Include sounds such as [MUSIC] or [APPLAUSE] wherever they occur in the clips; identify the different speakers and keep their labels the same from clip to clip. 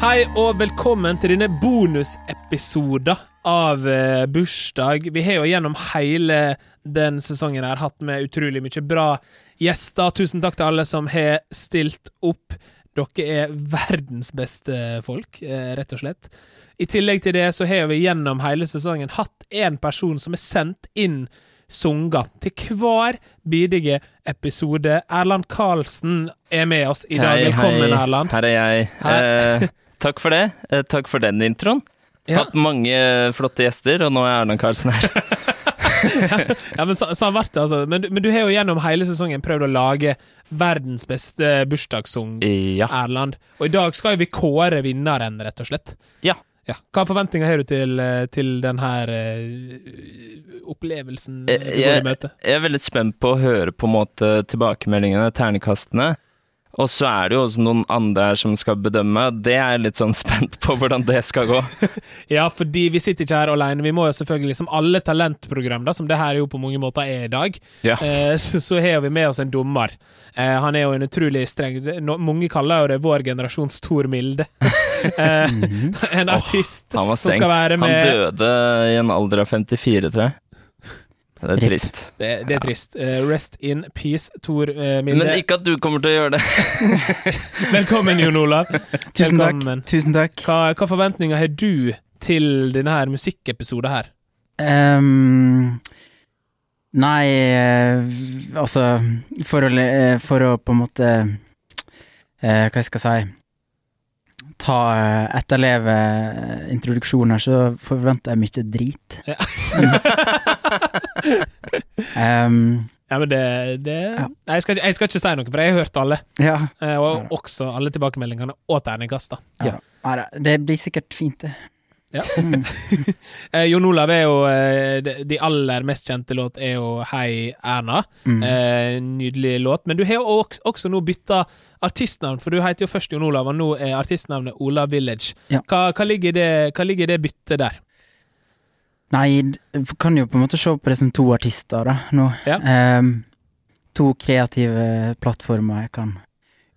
Speaker 1: Hei og velkommen til denne bonusepisoden av eh, bursdag. Vi har jo gjennom hele den sesongen her hatt med utrolig mye bra gjester. Tusen takk til alle som har stilt opp. Dere er verdens beste folk, eh, rett og slett. I tillegg til det så har vi gjennom hele sesongen hatt en person som er sendt inn sanger til hver bidige episode. Erland Karlsen er med oss i dag. Velkommen, Erland.
Speaker 2: Her er jeg.
Speaker 1: Hei.
Speaker 2: Eh, takk for det. Eh, takk for den introen.
Speaker 1: Ja.
Speaker 2: Hatt mange eh, flotte gjester, og nå er Erland Karlsen
Speaker 1: [LAUGHS]
Speaker 2: her.
Speaker 1: Ja, men så, sånn ble det, altså. Men, men du har jo gjennom hele sesongen prøvd å lage verdens beste bursdagssang,
Speaker 2: ja.
Speaker 1: Erland. Og i dag skal jo vi kåre vinneren, rett og slett.
Speaker 2: ja.
Speaker 1: Ja. Hva forventninger har du til, eh, til den her eh, opplevelsen
Speaker 2: Eh,
Speaker 1: du går
Speaker 2: jeg-
Speaker 1: i møte?
Speaker 2: Jeg er veldig spent på å høre på en måte tilbakemeldingene, ternekastene. Og så er det jo også noen andre her som skal bedømme. Det er jeg litt sånn [LAUGHS] spent på hvordan det skal gå.
Speaker 1: Ja, fordi vi sitter ikke her alene. Vi må jo selvfølgelig, som alle talentprogram, da, som det her jo på mange måter er i dag,
Speaker 2: Ja.
Speaker 1: eh, så, så har vi med oss en dommer. Eh, han er jo en utrolig streng det- no, Mange kaller jo det vår generasjons Tor Milde. [LAUGHS] eh, en artist
Speaker 2: Mhm. Han var
Speaker 1: som
Speaker 2: streng.
Speaker 1: skal være
Speaker 2: Han
Speaker 1: med
Speaker 2: døde i en alder av 54, tror jeg. Det er trist.
Speaker 1: det, det er trist. Eh, rest in peace, Tor eh, Milde.
Speaker 2: Men ikke at du kommer til å gjøre det. [LAUGHS]
Speaker 1: Velkommen, Jon Olav.
Speaker 3: Tusen
Speaker 1: Velkommen.
Speaker 3: takk. Tusen takk.
Speaker 1: Hva, hva forventninger har du til denne her musikkepisoden her?
Speaker 3: Ehm, nei, eh, altså for å, le- eh, for å på en måte eh, Hva jeg skal jeg si Ta eh, etterleve eh, introduksjonen her, så forventer jeg mye drit.
Speaker 1: Ja.
Speaker 3: [LAUGHS] Ehm,
Speaker 1: Ja, men det, det
Speaker 3: Ja.
Speaker 1: Nei, jeg skal, ikke- jeg skal ikke si noe, for jeg har hørt alle.
Speaker 3: ja.
Speaker 1: Eh, Og
Speaker 3: Ja.
Speaker 1: også alle tilbakemeldingene og terningkast. da.
Speaker 3: ja. Nei, da, det blir sikkert fint, det.
Speaker 1: Ja.
Speaker 3: Mm.
Speaker 1: Eh, Jon Olav er jo eh, de- De aller mest kjente låt er jo 'Hei, Erna'.
Speaker 3: Mm.
Speaker 1: Eh, nydelig låt. Men du har jo også, også nå bytta artistnavn, for du heter jo først Jon Olav, og nå er artistnavnet Ola Village.
Speaker 3: Ja.
Speaker 1: Hva, hva, ligger i det, hva ligger i det byttet der?
Speaker 3: Nei, d- kan jo på en måte se på det som to artister da, nå.
Speaker 1: Ja.
Speaker 3: Ehm, to kreative plattformer jeg kan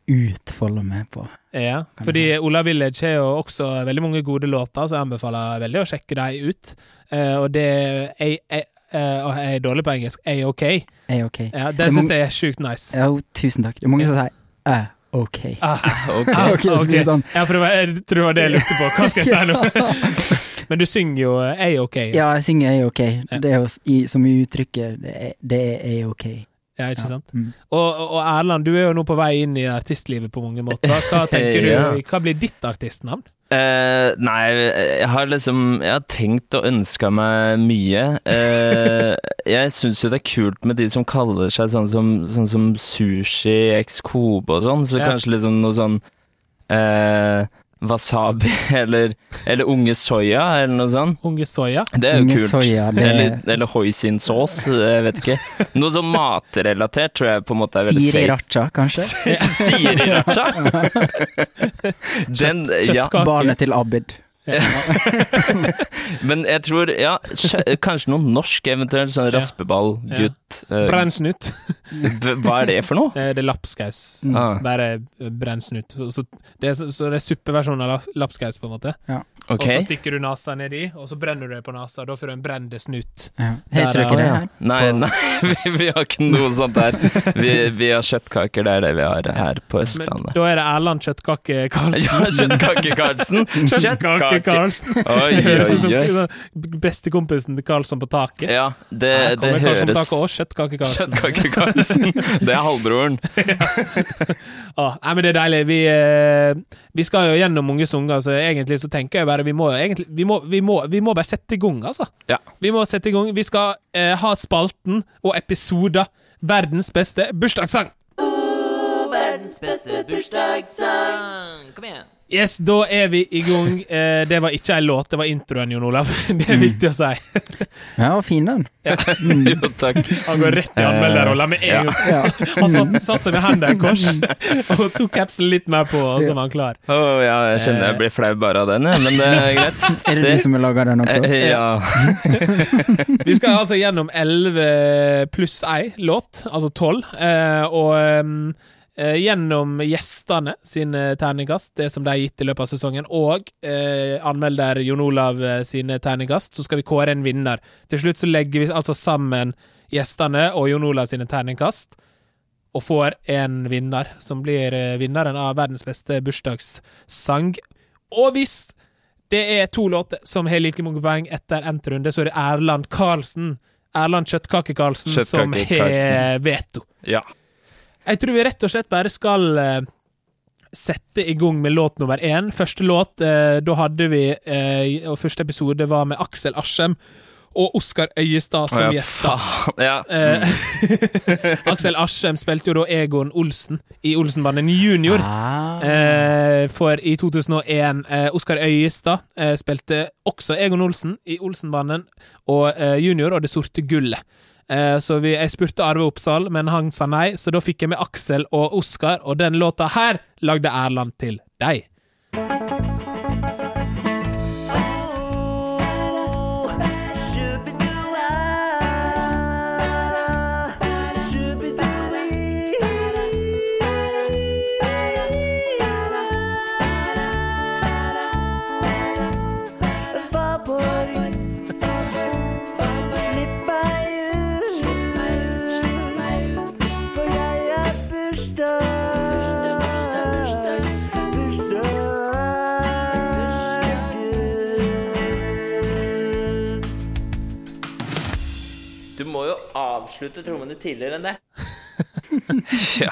Speaker 3: utfolde meg på.
Speaker 1: Ja, fordi Ola Village har jo også veldig mange gode låter, så jeg anbefaler veldig å sjekke dem ut. Eh, og det jeg, jeg, eh, og jeg er dårlig på engelsk. A-OK.
Speaker 3: Er jeg ok?
Speaker 1: Ja,
Speaker 3: Det er
Speaker 1: det syns
Speaker 3: mange-
Speaker 1: jeg er sjukt nice.
Speaker 3: Ja, jo, tusen takk. Det er mange som sier eh,
Speaker 1: [LAUGHS]
Speaker 3: ok. [LAUGHS]
Speaker 1: Ah.
Speaker 2: Ok.
Speaker 1: Ah,
Speaker 3: Ok, så blir det
Speaker 1: ok.
Speaker 3: sånn.
Speaker 1: Ja, for det var, jeg tror det var det jeg lurte på. Hva skal jeg
Speaker 2: [LAUGHS]
Speaker 1: si nå? Men du synger jo eh, 'Ei OK'. Ja.
Speaker 3: Ja, jeg synger er jeg ok.
Speaker 1: Ja.
Speaker 3: Det er jo s- i- som i uttrykket, det er, det er er jeg ok.
Speaker 1: ikke sant?
Speaker 3: Mm.
Speaker 1: Og, og Erland, du er jo nå på vei inn i artistlivet på mange
Speaker 2: [LAUGHS]
Speaker 1: måter. Hva tenker
Speaker 2: Ja.
Speaker 1: du, hva blir ditt artistnavn?
Speaker 2: Eh, nei, jeg har liksom Jeg har tenkt og ønska meg mye. Eh, jeg syns jo det er kult med de som kaller seg sånn som, sånn som Sushi, Ex Kobe og sånn, så
Speaker 1: Ja.
Speaker 2: kanskje liksom noe sånn eh, Wasabi [LAUGHS] eller, eller Unge Soya eller noe sånt.
Speaker 1: Unge Soya?
Speaker 2: Det er jo
Speaker 3: Unge
Speaker 2: kult.
Speaker 3: Soya, det-
Speaker 2: Eller, eller hoisin sauce, jeg vet ikke. Noe sånn matrelatert tror jeg på en måte er veldig
Speaker 3: Siri
Speaker 2: safe.
Speaker 3: Raja,
Speaker 1: [LAUGHS]
Speaker 3: kanskje?
Speaker 2: Siri
Speaker 3: [LAUGHS]
Speaker 2: Racha! Den, ja,
Speaker 1: Kjøttkake?
Speaker 3: Barnet til Abid.
Speaker 2: Men jeg tror, ja, kj- kanskje noe norsk eventuelt, sånn
Speaker 1: Ja.
Speaker 2: raspeball,
Speaker 1: Ja.
Speaker 2: gutt. eh,
Speaker 1: Brennsnut?
Speaker 2: b- hva er det for
Speaker 1: [LAUGHS]
Speaker 2: noe?
Speaker 1: Eh, Det er lapskaus.
Speaker 3: Mm.
Speaker 2: Ah,
Speaker 1: Bare eh, brennsnut. Så, så, det er, så- så det er suppeversjonen av lap- lapskaus, på en måte.
Speaker 2: ok.
Speaker 1: Og så stikker du nasa nedi, og så brenner du deg på nasa. og Da får du en brennende snut.
Speaker 3: Ja. Har ikke
Speaker 1: Der er
Speaker 3: dere det
Speaker 1: han,
Speaker 3: her?
Speaker 2: Nei, nei [LAUGHS] vi, vi har ikke noe sånt der. Vi, vi har kjøttkaker, det er det vi har her på
Speaker 1: Men [LAUGHS]
Speaker 2: Østlandet. [LAUGHS]
Speaker 1: da er det Erland Kjøttkake Karlsen.
Speaker 2: Ja, kjøttkake
Speaker 1: [LAUGHS]
Speaker 2: Karlsen!
Speaker 1: Kjøttkake Karlsen.
Speaker 2: Oi,
Speaker 1: Det høres ut som
Speaker 2: oi, oi.
Speaker 1: bestekompisen til Karlsson på taket.
Speaker 2: Ja, det,
Speaker 1: Her
Speaker 2: det
Speaker 1: kommer Karlsson på
Speaker 2: høres
Speaker 1: taket og Kjøttkake-Karlsen.
Speaker 2: Kjøttkake Karlsen.
Speaker 1: [LAUGHS]
Speaker 2: Det er halvbroren.
Speaker 1: Ah, nei, men det er deilig. Vi, eh, vi skal jo gjennom mange sanger, så egentlig så tenker jeg bare vi må, jo egentlig, vi må, vi må, vi må bare sette i gang, altså.
Speaker 2: Ja. [LAUGHS]
Speaker 1: Vi må sette i gang. Vi skal eh, ha spalten og episoder. Verdens beste bursdagssang!
Speaker 4: verdens beste bursdagssang. Kom igjen.
Speaker 1: Yes, da er vi i gang. Eh, det var ikke ei låt, det var introen, Jon Olav. [LAUGHS] Det
Speaker 2: Mm.
Speaker 1: er viktig å si.
Speaker 3: Ja, fin den.
Speaker 2: Jo, takk.
Speaker 1: Han går rett i anmelderrolla med en gang.
Speaker 3: [LAUGHS] Ja.
Speaker 1: Han satt, satt seg med hendene i kors og tok kapsen litt mer på, og så var han klar.
Speaker 2: Å, ja, jeg kjenner jeg blir flau bare av den, jeg, men det er greit.
Speaker 1: [LAUGHS]
Speaker 3: Er det du som har laga den
Speaker 1: Sånn.
Speaker 3: også?
Speaker 2: Eh, Ja.
Speaker 1: Vi skal altså gjennom 11 pluss 1 låt, altså 12. eh, Og um, eh, gjennom gjestene sine terningkast, det som de har gitt i løpet av sesongen, og eh, anmelder Jon Olav eh, sine terningkast, så skal vi kåre en vinner. Til slutt så legger vi altså sammen gjestene og Jon Olav sine terningkast, og får en vinner, som blir eh, vinneren av verdens beste bursdagssang. Og hvis det er to låter som har like mange poeng etter endt runde, så er det Erland Karlsen. Erland Kjøttkake-Karlsen som
Speaker 2: Kjøttkake
Speaker 1: har
Speaker 2: Karlsen.
Speaker 1: veto.
Speaker 2: Ja.
Speaker 1: Jeg tror vi rett og slett bare skal eh, sette i gang med låt nummer én. Første låt, eh, da hadde vi eh, Og første episode var med Aksel Aschem og Oskar Øyestad som
Speaker 2: Å, ja,
Speaker 1: gjester.
Speaker 2: faen. Ja.
Speaker 1: Eh, [LAUGHS] Aksel Aschem spilte jo da Egon Olsen i Olsenbanen junior.
Speaker 3: Ah.
Speaker 1: Eh, for i 2001 eh, Oskar Øyestad eh, spilte også Egon Olsen i Olsenbanen og eh, Junior og Det sorte gullet. Eh, så vi, jeg spurte Arve Oppsal, men han sa nei, så da fikk jeg med Aksel og Oskar, og den låta her lagde Erland til deg.
Speaker 4: Du må jo avslutte trommene tidligere enn det.
Speaker 2: [LAUGHS] ja.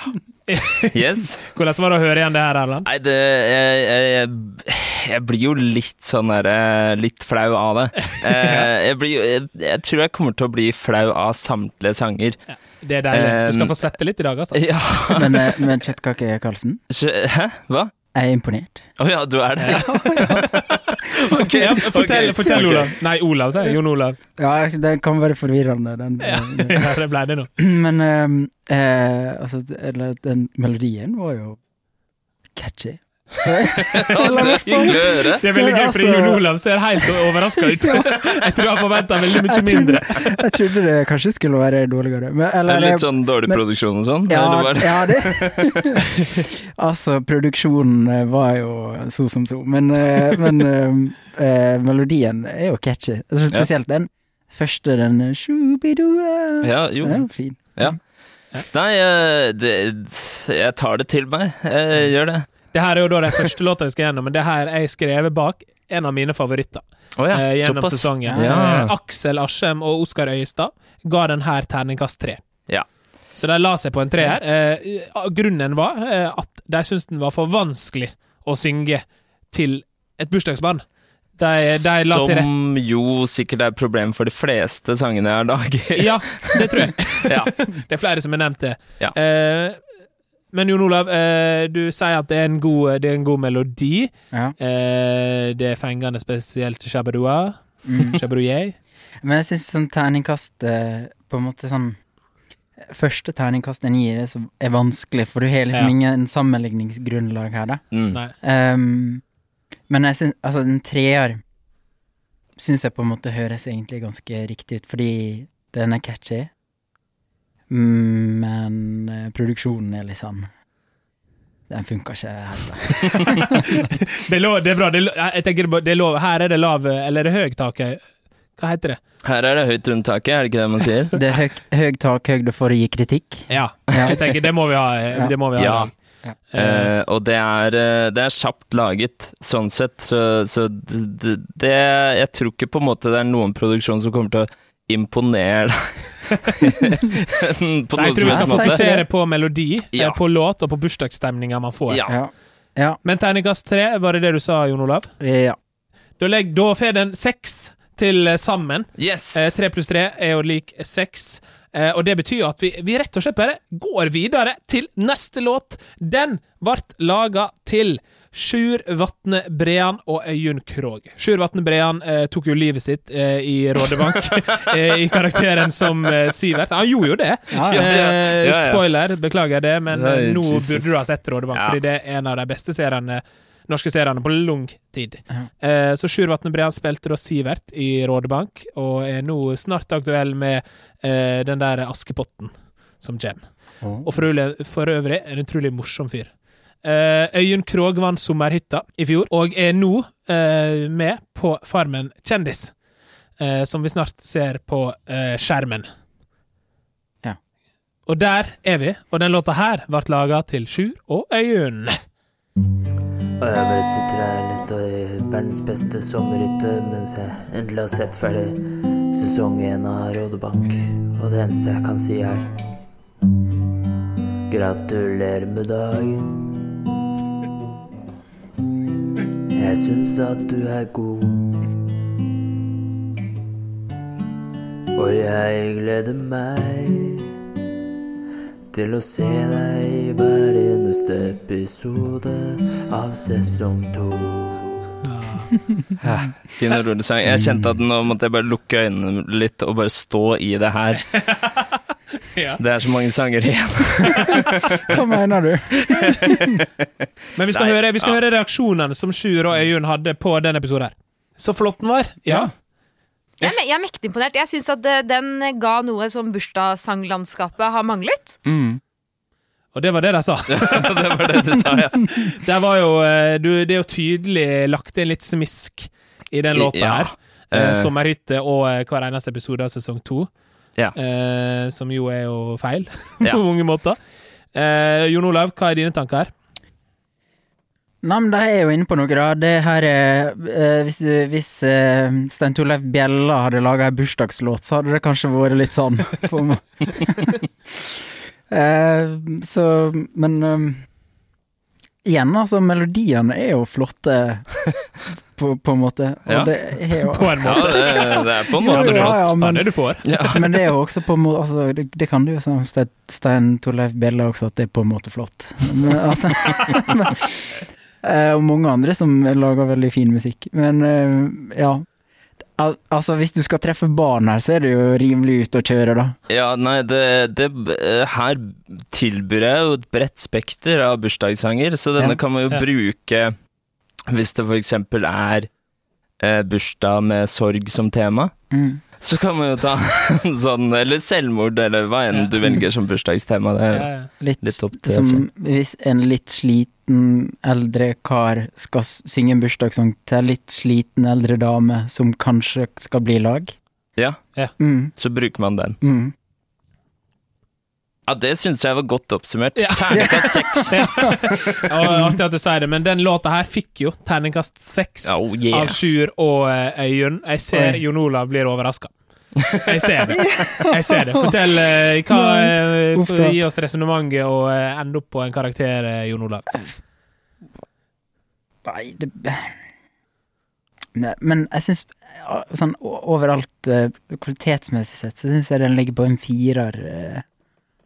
Speaker 2: Yes.
Speaker 1: Hvordan var det å høre igjen det her, Erland?
Speaker 2: Nei, det jeg, jeg, jeg, jeg blir jo litt sånn derre Litt flau av
Speaker 1: [LAUGHS]
Speaker 2: det. Eh, Jeg, blir, jo- jeg, jeg tror jeg kommer til å bli flau av samtlige sanger.
Speaker 1: Det er deilig. Du
Speaker 2: Eh,
Speaker 1: skal få svette litt i dag, altså.
Speaker 2: [LAUGHS] Ja
Speaker 3: Men, eh, men Kjøttkake Karlsen,
Speaker 2: skjø- Hæ? Hva?
Speaker 3: jeg er
Speaker 1: [LAUGHS]
Speaker 3: imponert.
Speaker 2: Å ja, du er det? Ok,
Speaker 1: Ja, fortell,
Speaker 2: ok,
Speaker 1: fortell
Speaker 2: ok.
Speaker 1: Olav. Nei, Olav, sier jeg. Jon Olav.
Speaker 3: Ja, den kan være forvirrende, den. [CLEARS THROAT]
Speaker 1: Ja, det ble det nå.
Speaker 3: Men eh, eh, altså, d- eller, den melodien var jo catchy.
Speaker 2: [LAUGHS] Ja, det er hyggelig å høre.
Speaker 1: Det er veldig gøy, fordi
Speaker 3: Altså-
Speaker 1: Jon Olav ser helt overraska [LAUGHS] ut. Jeg tror han forventa veldig mye
Speaker 3: Jeg
Speaker 1: mindre.
Speaker 3: trodde, jeg trodde det kanskje skulle være dårligere. Men,
Speaker 2: Det er
Speaker 3: eller,
Speaker 2: litt sånn dårlig
Speaker 3: men-
Speaker 2: produksjon og sånn? eller
Speaker 3: ja,
Speaker 2: var det-
Speaker 3: ja, det
Speaker 2: [LAUGHS]
Speaker 3: Altså, produksjonen eh, var jo så som så, men, eh, men eh, eh, melodien er jo catchy. Altså,
Speaker 2: Ja.
Speaker 3: Spesielt den første, den eh, Shubidua.
Speaker 2: ja, jo.
Speaker 3: Den er jo fin.
Speaker 2: Nei, eh, det, jeg tar det til meg. Jeg gjør det.
Speaker 1: Det her er jo da den første låta vi skal gjennom, men det her er jeg skrevet bak en av mine favoritter
Speaker 2: Å ja,
Speaker 1: eh, gjennom
Speaker 2: såpass.
Speaker 1: sesongen.
Speaker 2: Ja.
Speaker 1: Eh, Aksel Aschem og Oskar Øyestad ga den her terningkast tre.
Speaker 2: Ja.
Speaker 1: Så de la seg på en treer. Eh, grunnen var eh, at de syntes den var for vanskelig å synge til et bursdagsbarn. De, Eh, de la til rette
Speaker 2: Som jo sikkert er et problem for de fleste sangene jeg har laget.
Speaker 1: [LAUGHS] Ja, det tror jeg. [LAUGHS]
Speaker 2: [LAUGHS] Ja.
Speaker 1: Det er flere som har nevnt det.
Speaker 2: Ja.
Speaker 1: Eh, men Jon Olav, eh, du sier at det er en god, det er en god melodi.
Speaker 3: Ja.
Speaker 1: Eh, det er fengende spesielt Shabadua. [LAUGHS]
Speaker 3: Mm.
Speaker 1: Shabadouye.
Speaker 3: Men jeg syns sånn terningkast eh, På en måte sånn Første terningkast en gir, er, så, er vanskelig, for du har liksom
Speaker 1: Ja.
Speaker 3: ingen sammenligningsgrunnlag her, da.
Speaker 2: Mm.
Speaker 1: Nei.
Speaker 3: Ehm, men jeg syns Altså, en treer syns jeg på en måte høres egentlig ganske riktig ut, fordi den er catchy. Mm, Men eh, produksjonen er liksom Den funka ikke helt, da.
Speaker 1: Det, er lov, det er bra. Det er, lo- jeg tenker det er bare- det er lov. Her er det lav Eller er det høyt tak? Hva heter det?
Speaker 2: Her er det høyt rundt taket, er det ikke det man sier?
Speaker 1: [LAUGHS]
Speaker 3: Det er høy, høy tak, høyde for å gi kritikk.
Speaker 1: Ja.
Speaker 3: Ja.
Speaker 1: [LAUGHS] Jeg tenker, det må vi ha. eh,
Speaker 3: Ja.
Speaker 1: Det må vi ha.
Speaker 2: Ja.
Speaker 3: Ja.
Speaker 1: Eh,
Speaker 2: Eh, og det er, eh, det er kjapt laget, sånn sett. Så, så d- d- det Jeg tror ikke på en måte det er noen produksjon som kommer til å imponere [LAUGHS] deg på
Speaker 1: Nei, jeg
Speaker 2: noen
Speaker 1: tror vi
Speaker 2: som
Speaker 1: skal
Speaker 2: helst
Speaker 3: måte.
Speaker 1: fokusere på melodi,
Speaker 2: Ja.
Speaker 1: eh, på låt og på bursdagsstemninga man får.
Speaker 2: måte. Ja.
Speaker 3: Ja. Ja.
Speaker 1: Men terningkast tre, var det det du sa, Jon Olav?
Speaker 3: ja.
Speaker 1: Da, legg, da får den seks til eh, sammen.
Speaker 2: Yes!
Speaker 1: Eh, Tre pluss tre er jo lik seks. Eh, og det betyr jo at vi, vi rett og slett bare går videre til neste låt. Den vart laga til Sjur Vatne Brean og Øyunn Krogh. Sjur Vatne Brean eh, tok jo livet sitt eh, i
Speaker 2: [LAUGHS]
Speaker 1: Rådebank, eh, i karakteren som eh, Sivert. Han gjorde jo det.
Speaker 3: Ja,
Speaker 2: ja, ja.
Speaker 1: Eh,
Speaker 2: Ja, ja.
Speaker 1: Spoiler, beklager det, men eh,
Speaker 2: Nei,
Speaker 1: nå
Speaker 2: Jesus.
Speaker 1: burde du ha sett Rådebank,
Speaker 2: Ja.
Speaker 1: fordi det er en av de beste seriene, norske seriene på lang tid.
Speaker 3: Ja.
Speaker 1: Eh, så Sjur Vatne Brean spilte da Sivert i Rådebank, og er nå snart aktuell med eh, den der Askepotten. som kommer.
Speaker 3: Å.
Speaker 1: Og for øvrig, for øvrig en utrolig morsom fyr. Eh, Øyunn Krog vant Sommerhytta i fjor, og er nå eh, med på Farmen kjendis. eh, som vi snart ser på eh, skjermen.
Speaker 3: Ja.
Speaker 1: Og der er vi, og den låta her ble laga til Sjur og Øyunn.
Speaker 4: Og jeg bare sitter her litt og i verdens beste sommerhytte mens jeg endelig har sett ferdig sesong én av Rådebank. Og det eneste jeg kan si, er Gratulerer med dagen. Jeg syns at du er god. Og jeg gleder meg til å se deg i hver eneste episode av sesong to.
Speaker 2: Ja, fin og rolig sang. Jeg kjente at nå måtte jeg bare lukke øynene litt og bare stå i det her.
Speaker 1: Ja.
Speaker 2: Det er så mange sanger igjen. [LAUGHS]
Speaker 3: Hva mener du?
Speaker 1: Men vi skal,
Speaker 2: Nei,
Speaker 1: høre, vi skal
Speaker 2: ja.
Speaker 1: høre reaksjonene som Sjur og Øyunn hadde på den episoden her. Så flott den var. Ja.
Speaker 5: Jeg er, me- jeg er mektig imponert. Jeg syns at eh, den ga noe som bursdagssanglandskapet har manglet.
Speaker 3: Mm.
Speaker 1: Og det var det de sa.
Speaker 2: det var det du sa, ja.
Speaker 1: Det, var jo, eh, du, det er jo tydelig lagt inn litt smisk i den låta
Speaker 2: Ja.
Speaker 1: her. Eh,
Speaker 2: Eh.
Speaker 1: Sommerhytte og eh, hver eneste episode av sesong to.
Speaker 2: Ja.
Speaker 1: Eh, som jo er jo feil, [LAUGHS]
Speaker 2: Ja.
Speaker 1: på mange måter. Eh, Jon Olav, hva er dine tanker her?
Speaker 3: Nei, men de er jo inne på noe, da. Det her er eh, Hvis, du- hvis eh, Stein Torleif Bjella hadde laga ei bursdagslåt, så hadde det kanskje vært litt sånn [LAUGHS] for meg. [LAUGHS] Eh, så Men eh, igjen, altså. Melodiene er jo flotte, [LAUGHS] på, på en måte. Og
Speaker 2: Ja.
Speaker 3: det er jo
Speaker 1: På en
Speaker 2: ja
Speaker 1: måte.
Speaker 2: det, det er på en måte
Speaker 3: Ja, ja,
Speaker 2: flott.
Speaker 3: ja,
Speaker 1: Ta
Speaker 3: men-
Speaker 1: det du får.
Speaker 3: [LAUGHS] Men det er jo også på en måte altså, det, det kan du jo si om Ste- Stein Torleif Bjella også, at det er på en måte flott. Men, [LAUGHS] altså, Eh, og mange andre som lager veldig fin musikk. Men eh, ja. Al altså, hvis du skal treffe barn her, så er du jo rimelig ute å kjøre, da.
Speaker 2: Ja, nei, det, det eh, Her tilbyr jeg jo et bredt spekter av bursdagssanger, så denne
Speaker 3: Ja.
Speaker 2: kan man jo
Speaker 1: Ja.
Speaker 2: bruke hvis det for eksempel er eh, bursdag med sorg som tema.
Speaker 3: Mm.
Speaker 2: Så kan man jo ta [LAUGHS] en sånn, eller selvmord, eller hva enn
Speaker 1: Ja.
Speaker 2: du velger som bursdagstema. Det er jo
Speaker 1: Eh,
Speaker 3: Litt,
Speaker 2: litt opp til altså. selv.
Speaker 3: som hvis en litt sliten eldre kar skal s- synge en bursdagssang til en litt sliten eldre dame som kanskje skal bli lag.
Speaker 2: Ja,
Speaker 3: Mm,
Speaker 2: så bruker man den.
Speaker 3: mm.
Speaker 2: Ja, det syns jeg var godt oppsummert.
Speaker 1: Ja.
Speaker 2: Terningkast seks.
Speaker 1: og Artig at du sier det, men den låta her fikk jo terningkast seks.
Speaker 2: Oh yeah.
Speaker 1: av Sjur og eh, Øyunn. Jeg ser
Speaker 3: Oi.
Speaker 1: Jon Olav blir overraska. Jeg ser
Speaker 3: [LAUGHS]
Speaker 1: det. Jeg ser det. Fortell eh, hva eh,
Speaker 3: Uff da.
Speaker 1: Gi oss resonnementet og eh, ende opp på en karakter, eh, Jon Olav.
Speaker 3: Nei, det Nei, Men jeg syns sånn o- overalt eh, kvalitetsmessig sett, så syns jeg den ligger på en firer. eh,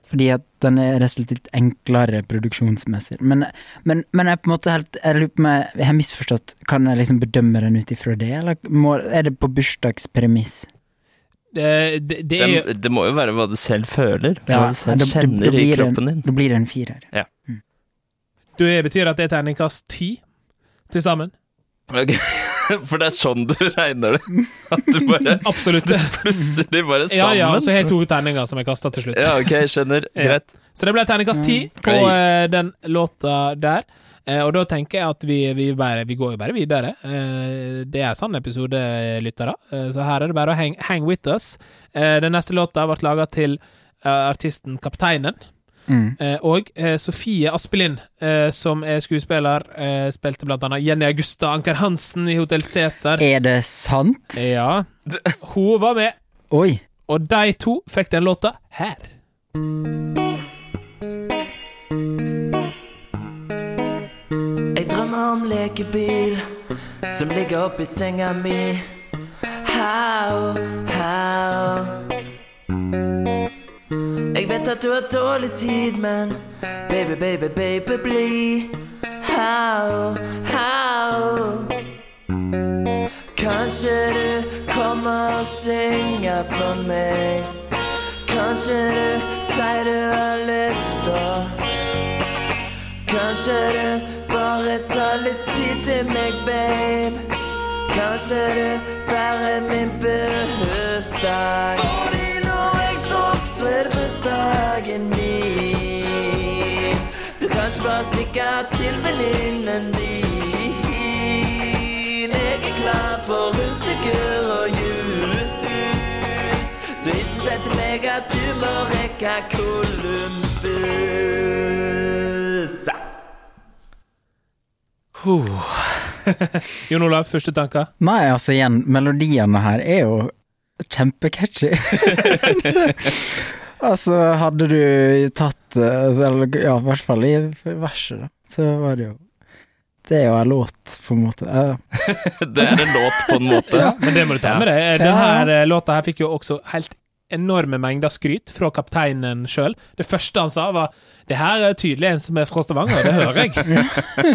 Speaker 3: Fordi at den er rett og slett litt enklere produksjonsmessig. Men, men, men jeg er på en måte helt Jeg lurer på om jeg jeg har misforstått. Kan jeg liksom bedømme den ut ifra det, eller må, er det på bursdagspremiss?
Speaker 1: Det, det, det er jo
Speaker 2: Det, det må jo være hva du selv føler, hva du selv
Speaker 3: det- det- det
Speaker 2: kjenner i
Speaker 3: blir en-
Speaker 2: kroppen din.
Speaker 3: Da blir det en firer.
Speaker 1: Det betyr at det er terningkast ti til sammen.
Speaker 2: Ok, [LAUGHS] For det er sånn du regner det? At du
Speaker 1: [LAUGHS]
Speaker 2: bare
Speaker 1: Absolutt.
Speaker 2: plutselig bare
Speaker 1: Ja,
Speaker 2: sammen?
Speaker 1: ja, og så har jeg to terninger som jeg kasta til slutt.
Speaker 2: Ja, ok, skjønner.
Speaker 1: Ja.
Speaker 2: Greit.
Speaker 1: Så det ble terningkast ti på eh, den låta der. Eh, og da tenker jeg at vi, vi, bare, vi går jo bare videre. Eh, det er sann episode, eh, lyttere. Eh, så her er det bare å hang, hang with us. Eh, den neste låta ble laga til eh, artisten Kapteinen.
Speaker 3: Mm.
Speaker 1: Eh, og eh, Sofie Aspelin, eh, som er skuespiller, eh, spilte blant annet Jenny Augusta Anker Hansen i Hotell Cæsar.
Speaker 3: Er det sant?
Speaker 1: Ja. Hun var med,
Speaker 3: Oi.
Speaker 1: og de to fikk den låta her.
Speaker 4: Jeg drømmer om lekebil som ligger oppi senga mi. How, how? Jeg vet at du har dårlig tid, men baby, baby, baby, bli. How, how? Kanskje du kommer og synger for meg. Kanskje du sier du har lyst å Kanskje du bare tar litt tid til meg, babe. Kanskje du feirer min bursdag. Fordi når jeg står opp, så er det bursdagen fra stikka til venninnen din. Jeg er klar for rundstykker og jus, så ikke si til meg at du må rekke Columbus.
Speaker 1: Jon Olav, første tanker?
Speaker 3: Nei, altså igjen, melodiene her er jo kjempecatchy. altså, hadde du tatt eh, Eller ja, i hvert fall i verset, da, så var det jo Det er jo en låt, på en måte. Eh,
Speaker 2: Det er en låt, på en måte.
Speaker 1: Men det må du ta med deg. Eh, Den her eh, låta her fikk jo også helt enorme mengder skryt fra kapteinen sjøl. Det første han sa, var 'Det her er tydelig en som er fra Stavanger', det hører jeg.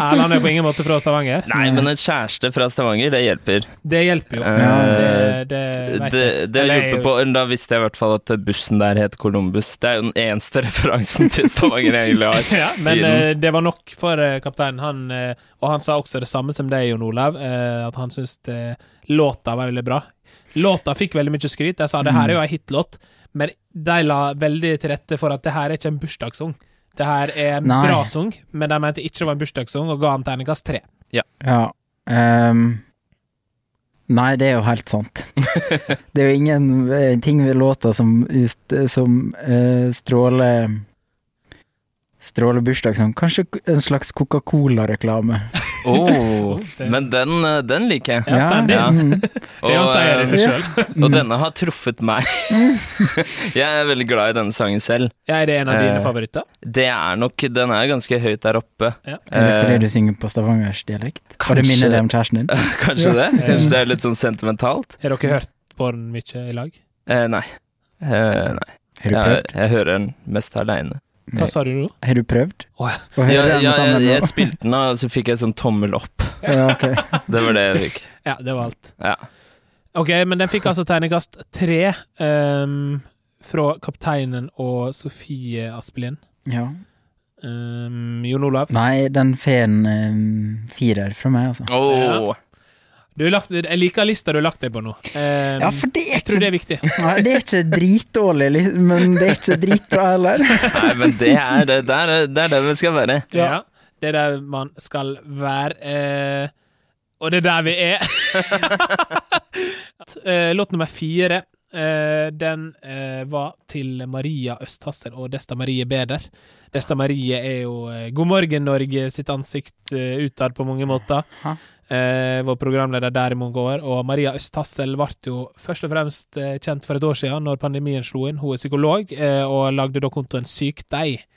Speaker 1: Erland er på ingen måte fra Stavanger.
Speaker 2: Nei, men en kjæreste fra Stavanger, det hjelper.
Speaker 1: Det hjelper jo.
Speaker 2: Eh,
Speaker 1: det, det, vet
Speaker 2: Det,
Speaker 1: jeg.
Speaker 2: det
Speaker 1: Eller jeg er
Speaker 2: hjulpet
Speaker 1: jo-
Speaker 2: på. Da visste jeg i hvert fall at bussen der het Columbus. Det er jo den eneste [LAUGHS] referansen til Stavanger jeg egentlig har.
Speaker 1: [LAUGHS] Ja, men
Speaker 2: i den.
Speaker 1: eh, det var nok for eh, kapteinen. Han, eh, og han sa også det samme som deg, Jon Olav, eh, at han syntes eh, låta var veldig bra. Låta fikk veldig mye skryt. Jeg sa det her er jo ei hitlåt, men de la veldig til rette for at det her er ikke en bursdagssang. Det her er en
Speaker 3: Nei.
Speaker 1: bra sang, men de mente ikke det var en bursdagssang, og ga han terningkast tre.
Speaker 3: ja. ehm, nei, det er jo helt sant. det er jo ingen eh, ting ved låta som, just, som eh, stråler Stråler bursdagssang. Kanskje en slags Coca-Cola-reklame.
Speaker 2: Åh, Oh,
Speaker 1: [LAUGHS]
Speaker 2: men den, eh, den liker jeg.
Speaker 1: Ja, Sandy.
Speaker 2: Ja.
Speaker 3: Mm.
Speaker 1: Det
Speaker 2: Og,
Speaker 1: sier det i seg
Speaker 3: ja.
Speaker 1: sjøl.
Speaker 3: [LAUGHS]
Speaker 2: eh, og denne har truffet meg. [LAUGHS] jeg er veldig glad i denne sangen selv.
Speaker 1: Er det en av
Speaker 2: Eh.
Speaker 1: dine favoritter?
Speaker 2: Det er nok, Den er ganske høyt der oppe. [LAUGHS]
Speaker 1: Ja.
Speaker 3: Er det
Speaker 2: Eh,
Speaker 3: fordi du synger på stavangersdialekt? Har det
Speaker 2: kanskje-
Speaker 3: minner deg om kjæresten din?
Speaker 2: Kanskje det? Kanskje det er litt sånn sentimentalt?
Speaker 1: Har dere hørt på den mye i lag?
Speaker 2: Eh, nei. Eh, nei.
Speaker 3: Har du
Speaker 2: Jeg,
Speaker 3: prøvd?
Speaker 2: jeg hører den mest aleine.
Speaker 3: Nei.
Speaker 1: Hva sa du nå?
Speaker 3: Har du prøvd?
Speaker 1: Å, ja.
Speaker 3: Å høre
Speaker 2: Ja, ja,
Speaker 3: den
Speaker 2: jeg,
Speaker 3: sammen
Speaker 2: jeg
Speaker 3: nå?
Speaker 2: spilte den, og så fikk jeg sånn tommel opp.
Speaker 3: [LAUGHS] Ja, ok.
Speaker 2: Det var det jeg fikk.
Speaker 1: Ja, det var alt. [LAUGHS]
Speaker 2: Ja.
Speaker 1: Ok, men den fikk altså tegnekast tre ehm, fra kapteinen og Sofie Aspelien.
Speaker 3: ja.
Speaker 1: Ehm, Jon Olav,
Speaker 3: Nei, den feen um, firer fra meg, altså.
Speaker 2: Åh.
Speaker 1: du har lagt, jeg liker lista du har lagt deg på nå. Ehm,
Speaker 3: Ja, for det er
Speaker 1: jeg tror det
Speaker 3: ikke,
Speaker 1: er viktig.
Speaker 3: [LAUGHS] Nei, det er ikke dritdårlig, li- men det er ikke dritbra [LAUGHS] heller.
Speaker 2: Nei, men det er det, det er det er der vi skal være. [LAUGHS]
Speaker 1: Ja. det er der man skal være. eh, og det er der vi er. [LAUGHS] Eh, låt nummer fire, eh, den eh, var til Maria Østhassel og Desta Marie Beder. Desta Marie er jo eh, God morgen Norge sitt ansikt eh, utad på mange måter.
Speaker 3: Hæ?
Speaker 1: Eh, var programleder der i mange år. Og Maria Østhassel ble jo først og fremst eh, kjent for et år siden, når pandemien slo inn. Hun er psykolog, eh, og lagde da kontoen Syk deg. Eh,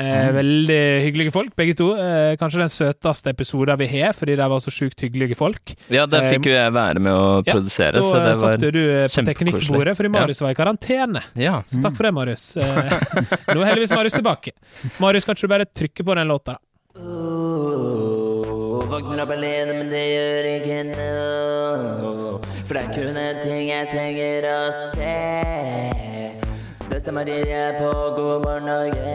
Speaker 2: Mm.
Speaker 1: Veldig hyggelige folk, begge to. Eh, kanskje den søteste episoden vi har, fordi de var så sjukt hyggelige folk.
Speaker 2: Ja, der fikk jo jeg være med å
Speaker 1: Eh, Ja,
Speaker 2: produsere,
Speaker 1: Da
Speaker 2: så det
Speaker 1: eh,
Speaker 2: var
Speaker 1: satt jo du eh, på
Speaker 2: kjempekoselig. Mm.
Speaker 1: teknikkbordet, fordi Marius var i karantene.
Speaker 2: Ja.
Speaker 1: Så takk for det, Marius. Eh, [LAUGHS] Nå er heldigvis Marius tilbake. Marius, kanskje du bare trykker på den låta, da.
Speaker 4: Åh, Våkner opp alene, men det gjør ikke noe. For det er kun en ting jeg trenger å se. Det stemmer i det på God morgen Norge.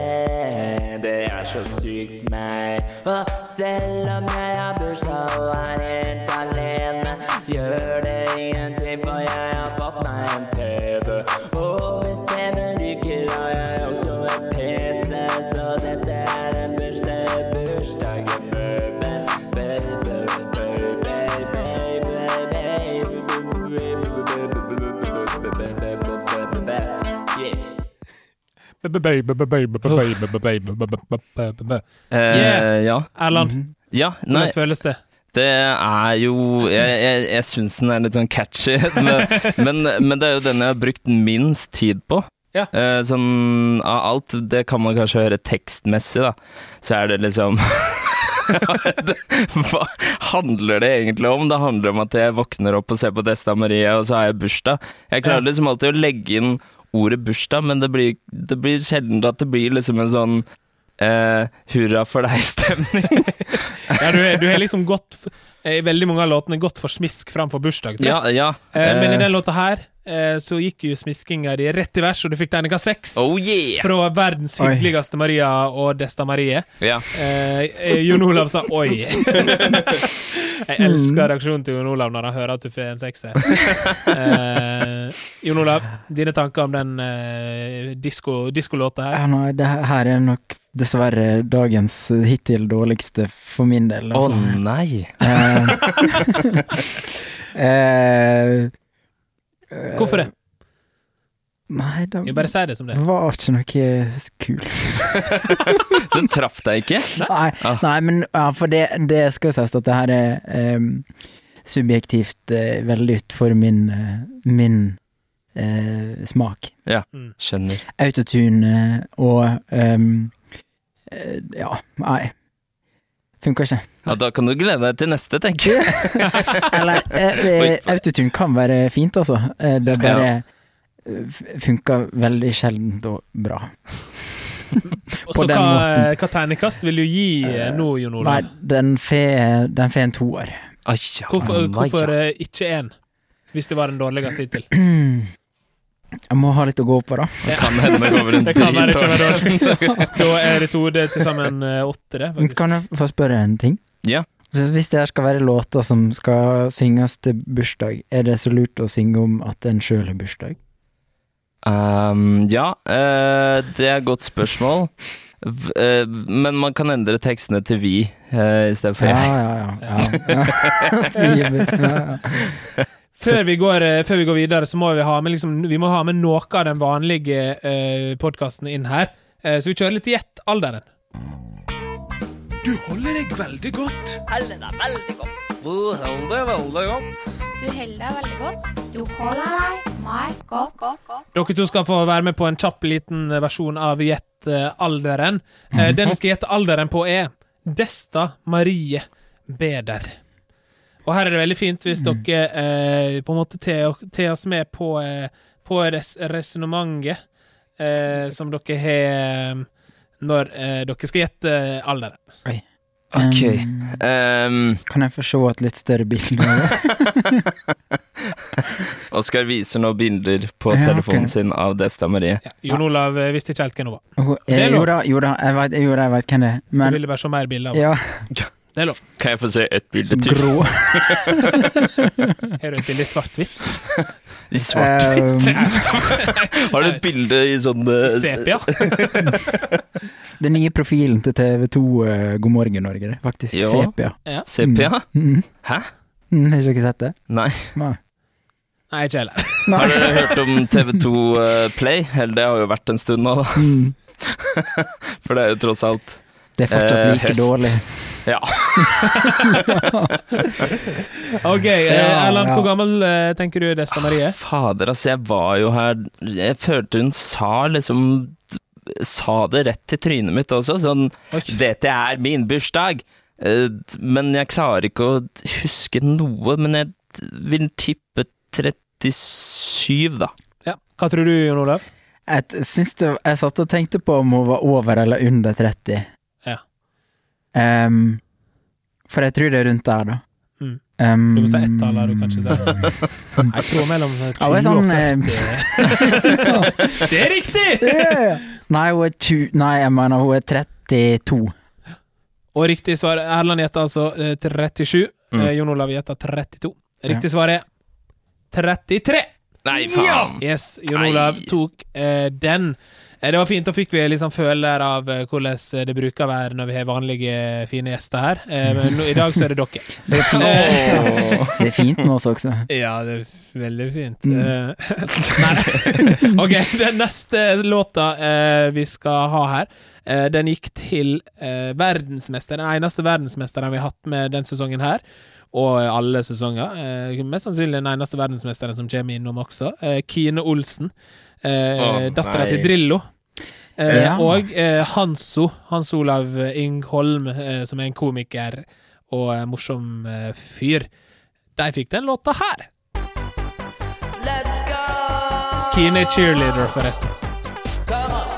Speaker 4: Det er så sykt meg. Og selv om jeg har bursdag og er helt alene, gjør det ingenting, for jeg har fått meg en TV. Og hvis TV-en ryker, har jeg også en PC, så dette er en bursdag, bursdag i baby, baby, baby, baby, baby. Yeah.
Speaker 2: Eh, ja.
Speaker 1: Erland,
Speaker 2: ja. Nei,
Speaker 1: hvordan føles det?
Speaker 2: det er jo Jeg, jeg, jeg syns den er litt sånn catchy, [LAUGHS] men, men, men det er jo den jeg har brukt minst tid på.
Speaker 1: Ja.
Speaker 2: Eh, sånn av alt, det kan man kanskje høre tekstmessig, da. Så er det liksom [LAUGHS] Hva handler det egentlig om? Det handler om at jeg våkner opp og ser på Desta Marie, og så har jeg bursdag. Jeg klarer
Speaker 1: Ja.
Speaker 2: liksom alltid å legge inn ordet bursdag, men det blir, det blir sjelden at det blir liksom en sånn eh, hurra for deg-stemning.
Speaker 1: Ja, du, er- du har liksom gått f- eh, i veldig mange av låtene gått for smisk framfor bursdag, tror jeg.
Speaker 2: ja, ja.
Speaker 1: Eh, Men i
Speaker 2: Eh,
Speaker 1: den låta her eh, så gikk jo smiskinga di rett i vers, og du fikk terningkast seks.
Speaker 2: Oh yeah!
Speaker 1: Fra verdens
Speaker 3: Oi.
Speaker 1: hyggeligste Maria og Desta Marie.
Speaker 2: Ja.
Speaker 1: Eh, eh, Jon Olav sa oi. Jeg elsker reaksjonen til Jon Olav når han hører at du får en sekser. Eh, Jon Olav, dine tanker om den eh, disko- diskolåta
Speaker 3: Ja, nei, det her er nok dessverre dagens eh, hittil dårligste for min del.
Speaker 2: Å
Speaker 3: altså.
Speaker 2: nei!
Speaker 3: Eh, eh,
Speaker 1: Hvorfor det?
Speaker 3: Nei, det
Speaker 1: Jeg bare sier det som det. er.
Speaker 3: var ikke noe kult.
Speaker 2: Den traff deg ikke?
Speaker 3: Nei,
Speaker 2: Ah.
Speaker 3: nei men ja, for det, det skal jo sies at det her er ehm, subjektivt eh, veldig ut for min, eh, min eh, smak.
Speaker 2: Skjønner.
Speaker 3: Autotune eh, og ehm, eh, Ja, nei. Funka [LAUGHS] ikke.
Speaker 2: Ja, da kan du glede deg til neste, tenker jeg.
Speaker 3: Eller eh, eh, autotune kan være fint, altså. Eh, det bare eh, f- funka veldig sjeldent og bra.
Speaker 1: Og
Speaker 3: På
Speaker 1: så
Speaker 3: den
Speaker 1: hva,
Speaker 3: måten.
Speaker 1: hva tegnekast vil du gi eh, nå, Jon
Speaker 3: Nei,
Speaker 1: Olav?
Speaker 3: den får den får en toer.
Speaker 2: Ai, ja,
Speaker 1: Hvorfor,
Speaker 2: nei,
Speaker 1: hvorfor
Speaker 2: ja.
Speaker 1: eh, ikke én? Hvis det var den dårligste hittil.
Speaker 3: Jeg må ha litt å gå på, da.
Speaker 2: Det Kan hende det går over
Speaker 1: [LAUGHS]
Speaker 2: en altså.
Speaker 1: Det kan være det ikke
Speaker 2: dritår.
Speaker 1: være
Speaker 2: [LAUGHS]
Speaker 1: dårlig. Da er det to det er til sammen eh, åtte, det.
Speaker 3: Men
Speaker 1: faktisk.
Speaker 3: Kan jeg få spørre en ting?
Speaker 2: Ja.
Speaker 3: Så hvis det her skal være låter som skal synges til bursdag, er det så lurt å synge om at en sjøl har bursdag?
Speaker 2: Ehm, ja, eh, det er et godt spørsmål. V eh, men man kan endre tekstene til vi uh, i stedet for
Speaker 3: Ja,
Speaker 2: jeg.
Speaker 3: ja, ja.
Speaker 2: [LAUGHS]
Speaker 3: ja. ja.
Speaker 1: Før vi, går, eh, før vi går videre, så må vi ha med, liksom, vi må ha med noe av den vanlige eh, podkasten inn her. Eh, så vi kjører litt gjett alderen. Du holder deg veldig godt.
Speaker 5: Heller deg veldig godt.
Speaker 6: Du holder deg veldig godt. Du holder deg meg godt.
Speaker 1: Dere to skal få være med på en kjapp liten versjon av Gjett eh, alderen.
Speaker 3: Mhm.
Speaker 1: Eh, Den vi skal gjette alderen på, er Desta Marie Beder. Og her er det veldig fint hvis
Speaker 3: Mm.
Speaker 1: dere eh, på en måte tar tar oss med på, eh, på res resonnementet eh, som dere har eh, når eh, dere skal gjette alderen.
Speaker 2: Ok.
Speaker 3: Um,
Speaker 2: Ehm,
Speaker 3: kan jeg få se et litt større bilde? av
Speaker 2: [LAUGHS]
Speaker 3: det?
Speaker 2: Oskar viser nå bilder på
Speaker 3: Ja,
Speaker 2: telefonen
Speaker 3: ok.
Speaker 2: sin av Desta Marie.
Speaker 1: Ja, Jon Olav eh, visste ikke helt hvem hun var.
Speaker 3: Oh,
Speaker 1: Det
Speaker 3: eh,
Speaker 1: er lov.
Speaker 3: jo da, jo da, jeg vet, jo da, jeg vet hvem det er.
Speaker 1: Hun
Speaker 3: Men
Speaker 1: ville bare se mer bilder av henne.
Speaker 3: ja,
Speaker 1: Det er lov.
Speaker 2: Kan jeg få se et bilde
Speaker 3: så
Speaker 2: til?
Speaker 3: grå.
Speaker 1: Her er det et bilde i svart-hvitt.
Speaker 2: I [LAUGHS] svart.
Speaker 1: Eh,
Speaker 3: Um,
Speaker 2: Har du et bilde i sånn eh,
Speaker 1: Sepia.
Speaker 3: den nye profilen til TV2 eh, God morgen Norge, det er faktisk
Speaker 2: Ja.
Speaker 3: sepia.
Speaker 2: sepia?
Speaker 3: Mm.
Speaker 2: Hæ?
Speaker 3: Mm, har ikke dere sett det?
Speaker 2: Nei.
Speaker 3: Nei.
Speaker 1: Nei, ikke heller.
Speaker 2: Har dere hørt om TV2 eh, Play? Eller det har jo vært en stund nå, da.
Speaker 3: Mm.
Speaker 2: For det er jo tross alt
Speaker 3: Det er fortsatt
Speaker 2: Eh,
Speaker 3: like
Speaker 2: høst.
Speaker 3: dårlig.
Speaker 2: Ja.
Speaker 1: Ok, eh,
Speaker 3: Ja,
Speaker 1: Erland,
Speaker 3: ja.
Speaker 1: hvor gammel eh, tenker du er Desta Marie?
Speaker 2: Fader, altså, jeg var jo her Jeg følte hun sa liksom Sa det rett til trynet mitt også. Sånn Dette er min bursdag! Eh, Men jeg klarer ikke å huske noe. Men jeg vil tippe 37, da.
Speaker 1: Ja. Hva tror du, Jon Olav?
Speaker 3: Jeg, t- syns det, jeg satt og tenkte på om hun var over eller under 30.
Speaker 1: Ja.
Speaker 3: Ehm, for jeg tror det er rundt der, da.
Speaker 1: Mm.
Speaker 3: Ehm,
Speaker 1: Du må si ett tall her, du kan ikke si
Speaker 2: [LAUGHS]
Speaker 1: Jeg tror mellom eh,
Speaker 3: Ja, det er
Speaker 1: 20 og
Speaker 3: sånn,
Speaker 1: 40.
Speaker 3: [LAUGHS]
Speaker 1: Det er riktig!
Speaker 3: Yeah! Nei, hun er 20 Nei, jeg mener hun er 32.
Speaker 1: Og riktig svar Erland gjetter altså eh, 37.
Speaker 2: Mm.
Speaker 1: Eh, Jon Olav gjetter 32. Riktig svar er 33.
Speaker 2: Nei, faen!
Speaker 1: Yes, Jon
Speaker 2: Nei.
Speaker 1: Olav tok eh, den. Eh, Det var fint, da fikk vi liksom føler av eh, hvordan det bruker å være når vi har vanlige, fine gjester her. Eh, Men nå, i dag så er det dere.
Speaker 3: Det
Speaker 7: [LAUGHS]
Speaker 3: er fint, det er fint med oss også.
Speaker 1: Ja, det er veldig fint.
Speaker 3: Mm.
Speaker 1: Eh, [LAUGHS] nei. [LAUGHS] ok, den neste låta eh, vi skal ha her, eh, den gikk til uh, verdensmester, den eneste verdensmesteren vi har hatt med den sesongen her. Og alle sesonger. Eh, mest sannsynlig den eneste verdensmesteren som kommer innom også. Eh, Kine Olsen. Uh,
Speaker 2: Å,
Speaker 1: Dattera
Speaker 2: nei.
Speaker 1: til Drillo. Eh,
Speaker 3: Ja.
Speaker 1: Og eh, Hanso. Hans Olav Ingholm, eh, som er en komiker og eh, morsom eh, fyr. De fikk den låta her.
Speaker 4: Let's go!
Speaker 1: Kine er cheerleader, forresten.
Speaker 4: Come on.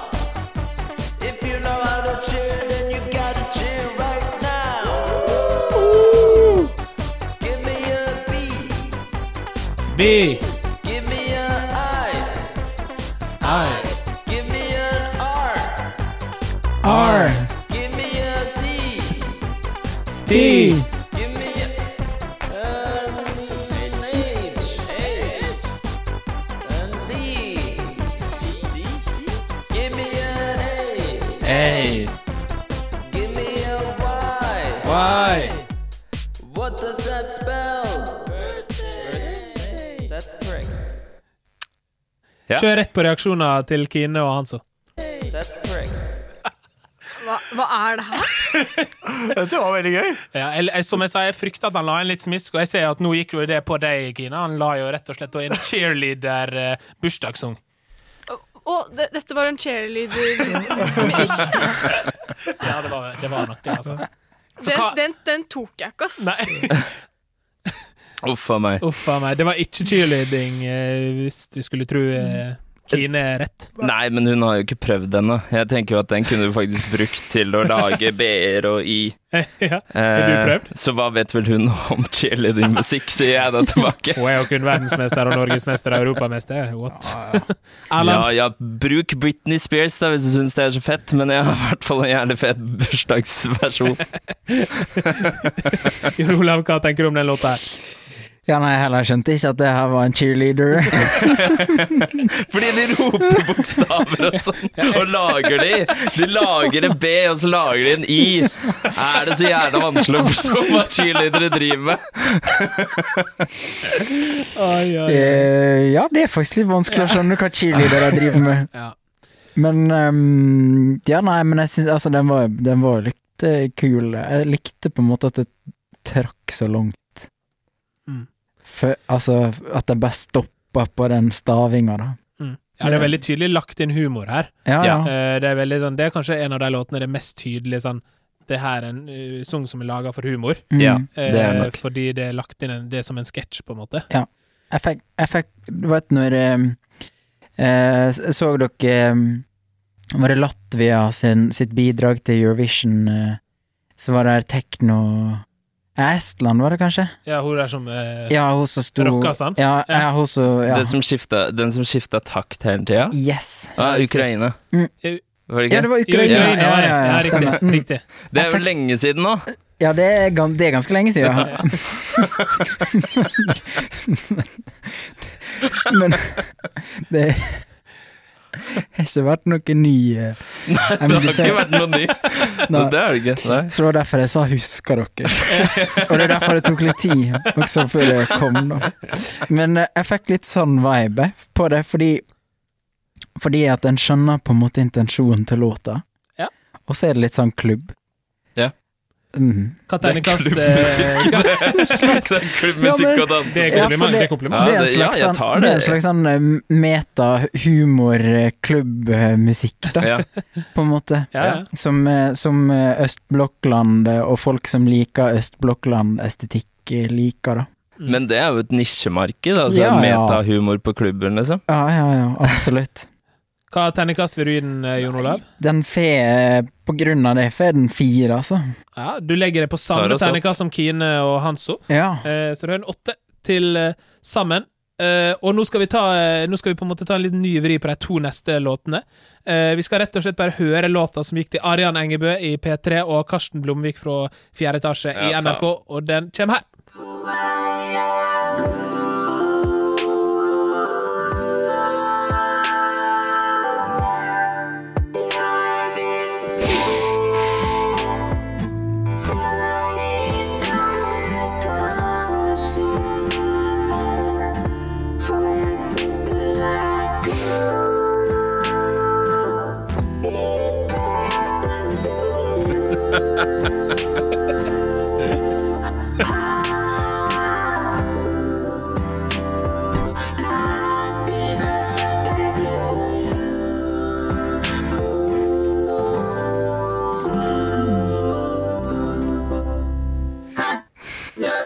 Speaker 4: If you know how to cheer, then you gotta cheer right now. Give me a B,
Speaker 1: B.
Speaker 4: give me a I,
Speaker 1: I.
Speaker 4: give me an R,
Speaker 3: R,
Speaker 4: give me a T,
Speaker 1: T.
Speaker 4: give me a an H, H, an D, give me an A,
Speaker 2: Hey.
Speaker 1: Why?
Speaker 4: What does that spell? Birthday. That's correct.
Speaker 2: Ja.
Speaker 1: Kjør rett på reaksjoner til Kine og Hanso.
Speaker 4: That's correct.
Speaker 5: Hva, hva er det her?
Speaker 7: Dette var veldig gøy.
Speaker 1: Ja, eller, eh, som jeg sa, jeg frykter at han la inn litt smisk, og jeg ser at nå gikk jo det på deg, Kine. Han la jo rett og slett inn eh, cheerleader-bursdagssang.
Speaker 8: Å, det, dette var en cheerleader-miks.
Speaker 1: Ja, det var, det var nok det, altså.
Speaker 8: Den,
Speaker 1: hva-
Speaker 8: den, den tok jeg ikke, ass.
Speaker 1: [LAUGHS] Nei,
Speaker 2: Uff a meg.
Speaker 1: uff a meg. Det var ikke cheerleading, eh, hvis vi skulle tro eh, Kine rett.
Speaker 2: Nei, men hun har jo ikke prøvd ennå. Jeg tenker jo at den kunne du faktisk brukt til å
Speaker 1: [LAUGHS]
Speaker 2: lage B-er og I.
Speaker 1: [LAUGHS] ja.
Speaker 2: Eh,
Speaker 1: du prøvd?
Speaker 2: Så hva vet vel hun [LAUGHS] om cheerleading-musikk, sier jeg da tilbake.
Speaker 1: Hun er jo kun verdensmester og norgesmester og europamester. What?
Speaker 2: Ja,
Speaker 1: Erlend?
Speaker 2: ja, bruk Britney Spears da hvis du syns det er så fett, men jeg har i hvert fall en jævlig fet
Speaker 1: [LAUGHS]
Speaker 2: bursdagsversjon.
Speaker 1: Jon [LAUGHS] Olav, hva tenker du om den låta her?
Speaker 3: Ja, nei, heller skjønte ikke at det her var en cheerleader.
Speaker 2: Fordi de roper bokstaver og sånn, og lager de. De lager en B, og så lager de en I. Er det så jævla vanskelig å forstå hva cheerleadere driver med?
Speaker 1: Oi, oi, oi.
Speaker 3: Eh, ja, det er faktisk litt vanskelig å skjønne hva cheerleadere driver med.
Speaker 1: [LAUGHS] Ja.
Speaker 3: Men ehm, Ja, nei, men jeg syns altså, den var, den var litt eh, kul. Jeg likte på en måte at det trakk så langt.
Speaker 1: Mm.
Speaker 3: For, altså, at den bare stoppa på den stavinga, da.
Speaker 1: Ja, det er veldig tydelig lagt inn humor her.
Speaker 3: Ja, ja.
Speaker 1: Eh, Det er, veldig, sånn, det er kanskje en av de låtene det er mest tydelig sånn Det her er en eh, sang som er laga for humor.
Speaker 3: Mm.
Speaker 2: Ja.
Speaker 1: Eh,
Speaker 2: Det er nok.
Speaker 1: Fordi det er lagt inn en, det er som en sketsj, på en måte.
Speaker 3: Jeg fikk, jeg fikk Du vet når eh, eh, Så dere eh, Var det Latvia sin, sitt bidrag til Eurovision? eh, så var det tekno eh, Estland, var det kanskje?
Speaker 1: Ja, hun der som eh,
Speaker 3: Ja, hun som sto
Speaker 1: Rocka sånn?
Speaker 3: Ja, ja. hun som ja.
Speaker 2: Den som skifta- Den som skifta takt hele tida?
Speaker 3: Yes.
Speaker 2: Ja, Ukraina.
Speaker 3: Mm.
Speaker 2: Var det
Speaker 3: Ja,
Speaker 2: ikke?
Speaker 3: det var
Speaker 1: Jo,
Speaker 3: Ukraina.
Speaker 1: Ukraina,
Speaker 3: ja,
Speaker 1: var det.
Speaker 3: ja,
Speaker 1: Ja,
Speaker 3: ja,
Speaker 1: riktig.
Speaker 3: stemmer. Mm.
Speaker 1: riktig.
Speaker 2: Det er jo lenge siden nå.
Speaker 3: ja det, er, gan- det er ganske lenge siden. [LAUGHS] Men det har ikke vært noe ny eh, jeg
Speaker 2: Det
Speaker 3: må
Speaker 2: har
Speaker 3: si-
Speaker 2: ikke vært noe ny.
Speaker 3: [LAUGHS] Nei.
Speaker 2: Det er det ikke. Nei.
Speaker 3: [LAUGHS] Så det var derfor jeg sa 'husker dere'. Og det er derfor det tok litt tid også før det kom, da. Men eh, jeg fikk litt sånn vibe på det, fordi Fordi at en skjønner på en måte intensjonen til låta,
Speaker 1: Ja.
Speaker 3: og så er det litt sånn klubb.
Speaker 2: Ja.
Speaker 3: Mm.
Speaker 1: Hva terningkast
Speaker 2: Det
Speaker 1: eh, hva-
Speaker 2: Det er klubbmusikk
Speaker 3: Ja, men-
Speaker 2: og dans.
Speaker 1: Det er
Speaker 3: Ja, for
Speaker 1: kompliment. det er kompliment.
Speaker 2: Ja,
Speaker 3: det er en
Speaker 2: det- ja,
Speaker 3: slags,
Speaker 2: jeg
Speaker 3: sånn-
Speaker 2: tar
Speaker 3: det er en
Speaker 2: det.
Speaker 3: slags sånn eh, meta-humor-klubb-musikk, da,
Speaker 2: Ja.
Speaker 3: på en måte.
Speaker 1: Ja, ja.
Speaker 3: Som, eh, som eh, Østblokkland eh, og folk som liker Østblokkland-estetikk, eh, liker, da.
Speaker 2: Men det er jo et nisjemarked, altså
Speaker 3: Ja, ja.
Speaker 2: metahumor på klubben, liksom.
Speaker 3: Ja, ja, ja, absolutt.
Speaker 1: Hva terningkast vil du gi den, eh, Jon Olav?
Speaker 3: Den får, på grunn av det, får den fire, altså.
Speaker 1: Ja, du legger det på
Speaker 2: Tar
Speaker 1: samme
Speaker 2: oss opp.
Speaker 1: terningkast som Kine og Hanso.
Speaker 3: Ja.
Speaker 1: Eh, Så det er en åtte til eh, sammen. Eh, og nå skal, vi ta, eh, nå skal vi på en måte ta en liten ny vri på de to neste låtene. Eh, vi skal rett og slett bare høre låta som gikk til Arian Engebø i P3 og Karsten Blomvik fra 4 etasje i
Speaker 2: Ja, faen.
Speaker 1: NRK, og den kommer her.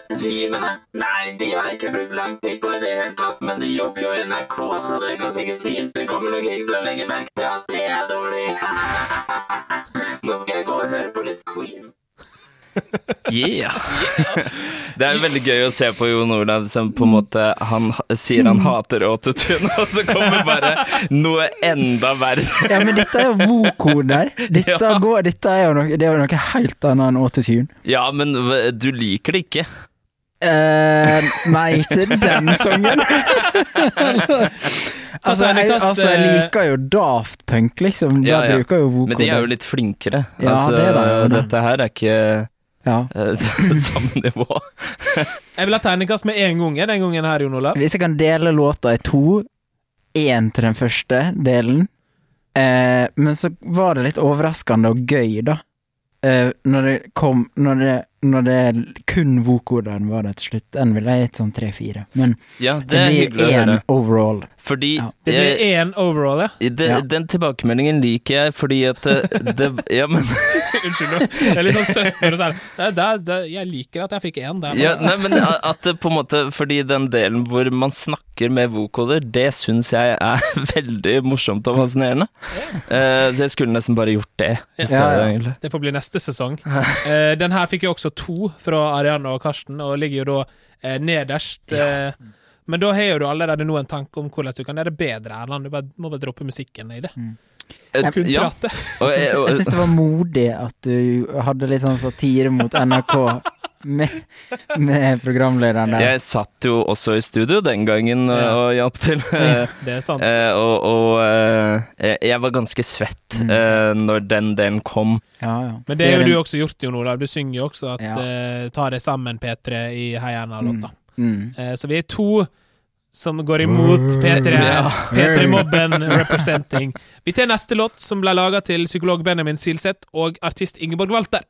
Speaker 4: Nei, de har ikke brukt lang tid på det i det hele tatt, men de jobber jo i NRK, så det går sikkert fint. Det kommer nok ikke til å legge merke til at det er dårlig. Nå skal jeg gå og høre på litt Queen.
Speaker 2: Yeah. [LAUGHS] Det er jo veldig gøy å se på Jon Olav som på en måte Han ha- sier han hater autotune, [LAUGHS] og så kommer bare noe enda verre.
Speaker 3: ja, men dette er jo [LAUGHS] vokoder. Dette,
Speaker 2: Ja.
Speaker 3: går, dette er jo noe, det er jo noe helt annet enn autotune.
Speaker 2: Ja, men v- du liker det ikke.
Speaker 3: Eh, nei, ikke den sangen. altså, jeg, altså,
Speaker 1: eh,
Speaker 3: jeg liker jo Daft Punk, liksom.
Speaker 2: Ja,
Speaker 3: Der
Speaker 2: ja.
Speaker 3: bruker jo vokoder.
Speaker 2: Men de er jo litt flinkere.
Speaker 3: Ja, det er det, det er det.
Speaker 2: dette her er ikke
Speaker 3: Ja.
Speaker 2: Eh, [LAUGHS] Samme nivå.
Speaker 1: Jeg vil ha tegnekast med en gang jeg, den gangen her, Jon Olav.
Speaker 3: Hvis jeg kan dele låta i to, én til den første delen eh, Men så var det litt overraskende og gøy, da. Eh, når det kom Når det, når det kun vokoderen var der til slutt. Den ville jeg gitt sånn tre-fire. Men
Speaker 2: Ja, det
Speaker 3: det
Speaker 2: er hyggelig
Speaker 3: blir
Speaker 2: å
Speaker 3: én
Speaker 2: høre.
Speaker 3: overall.
Speaker 2: Fordi
Speaker 3: Ja.
Speaker 1: Det
Speaker 2: jeg-
Speaker 1: blir én overall, ja.
Speaker 2: I det,
Speaker 3: Ja.
Speaker 2: Den tilbakemeldingen liker jeg, fordi at eh, det, ja, men,
Speaker 1: Unnskyld. nå. Jeg er litt sånn 17 år og sånn. Det, det, det, jeg liker at jeg fikk én der.
Speaker 2: ja, nei, men a- at det på en måte Fordi den delen hvor man snakker med vokoder, det syns jeg er [LAUGHS] veldig morsomt og fascinerende. Eh, så jeg skulle nesten bare gjort det. i stedet,
Speaker 3: Ja, ja.
Speaker 2: egentlig.
Speaker 1: Det får bli neste
Speaker 3: [LAUGHS]
Speaker 1: sesong. Eh, den her fikk jo også to fra Arianne og Karsten, og ligger jo da eh, nederst. Eh, men da har jo du allerede nå en tanke om hvordan du kan gjøre det bedre, Erland. Du bare, må bare droppe musikken i det.
Speaker 3: Mm.
Speaker 2: Eh,
Speaker 1: Kun
Speaker 2: ja,
Speaker 1: prate. [LAUGHS]
Speaker 2: og,
Speaker 3: Jeg syns-
Speaker 2: og,
Speaker 3: Jeg syns det var modig at du hadde litt sånn satire mot
Speaker 2: [LAUGHS]
Speaker 3: NRK med, med programlederen der.
Speaker 2: jeg satt jo også i studio den gangen og,
Speaker 1: Ja.
Speaker 2: og hjalp til. eh,
Speaker 1: Det er sant.
Speaker 2: eh, og og eh, jeg var ganske svett eh, når den delen kom.
Speaker 3: Ja, ja.
Speaker 1: Men det har
Speaker 3: gjør
Speaker 1: jo du
Speaker 3: en-
Speaker 1: også gjort, Jon Olav. Du synger jo også at
Speaker 3: Ja.
Speaker 1: eh, 'Ta deg sammen, P3' i Heiarna-låta.
Speaker 3: Mm.
Speaker 1: Eh, så vi er to som går imot P3.
Speaker 2: Ja.
Speaker 3: [LAUGHS]
Speaker 1: P3-mobben representing. Vi tar neste låt, som ble laga til psykolog Benjamin Silseth og artist Ingeborg Walter.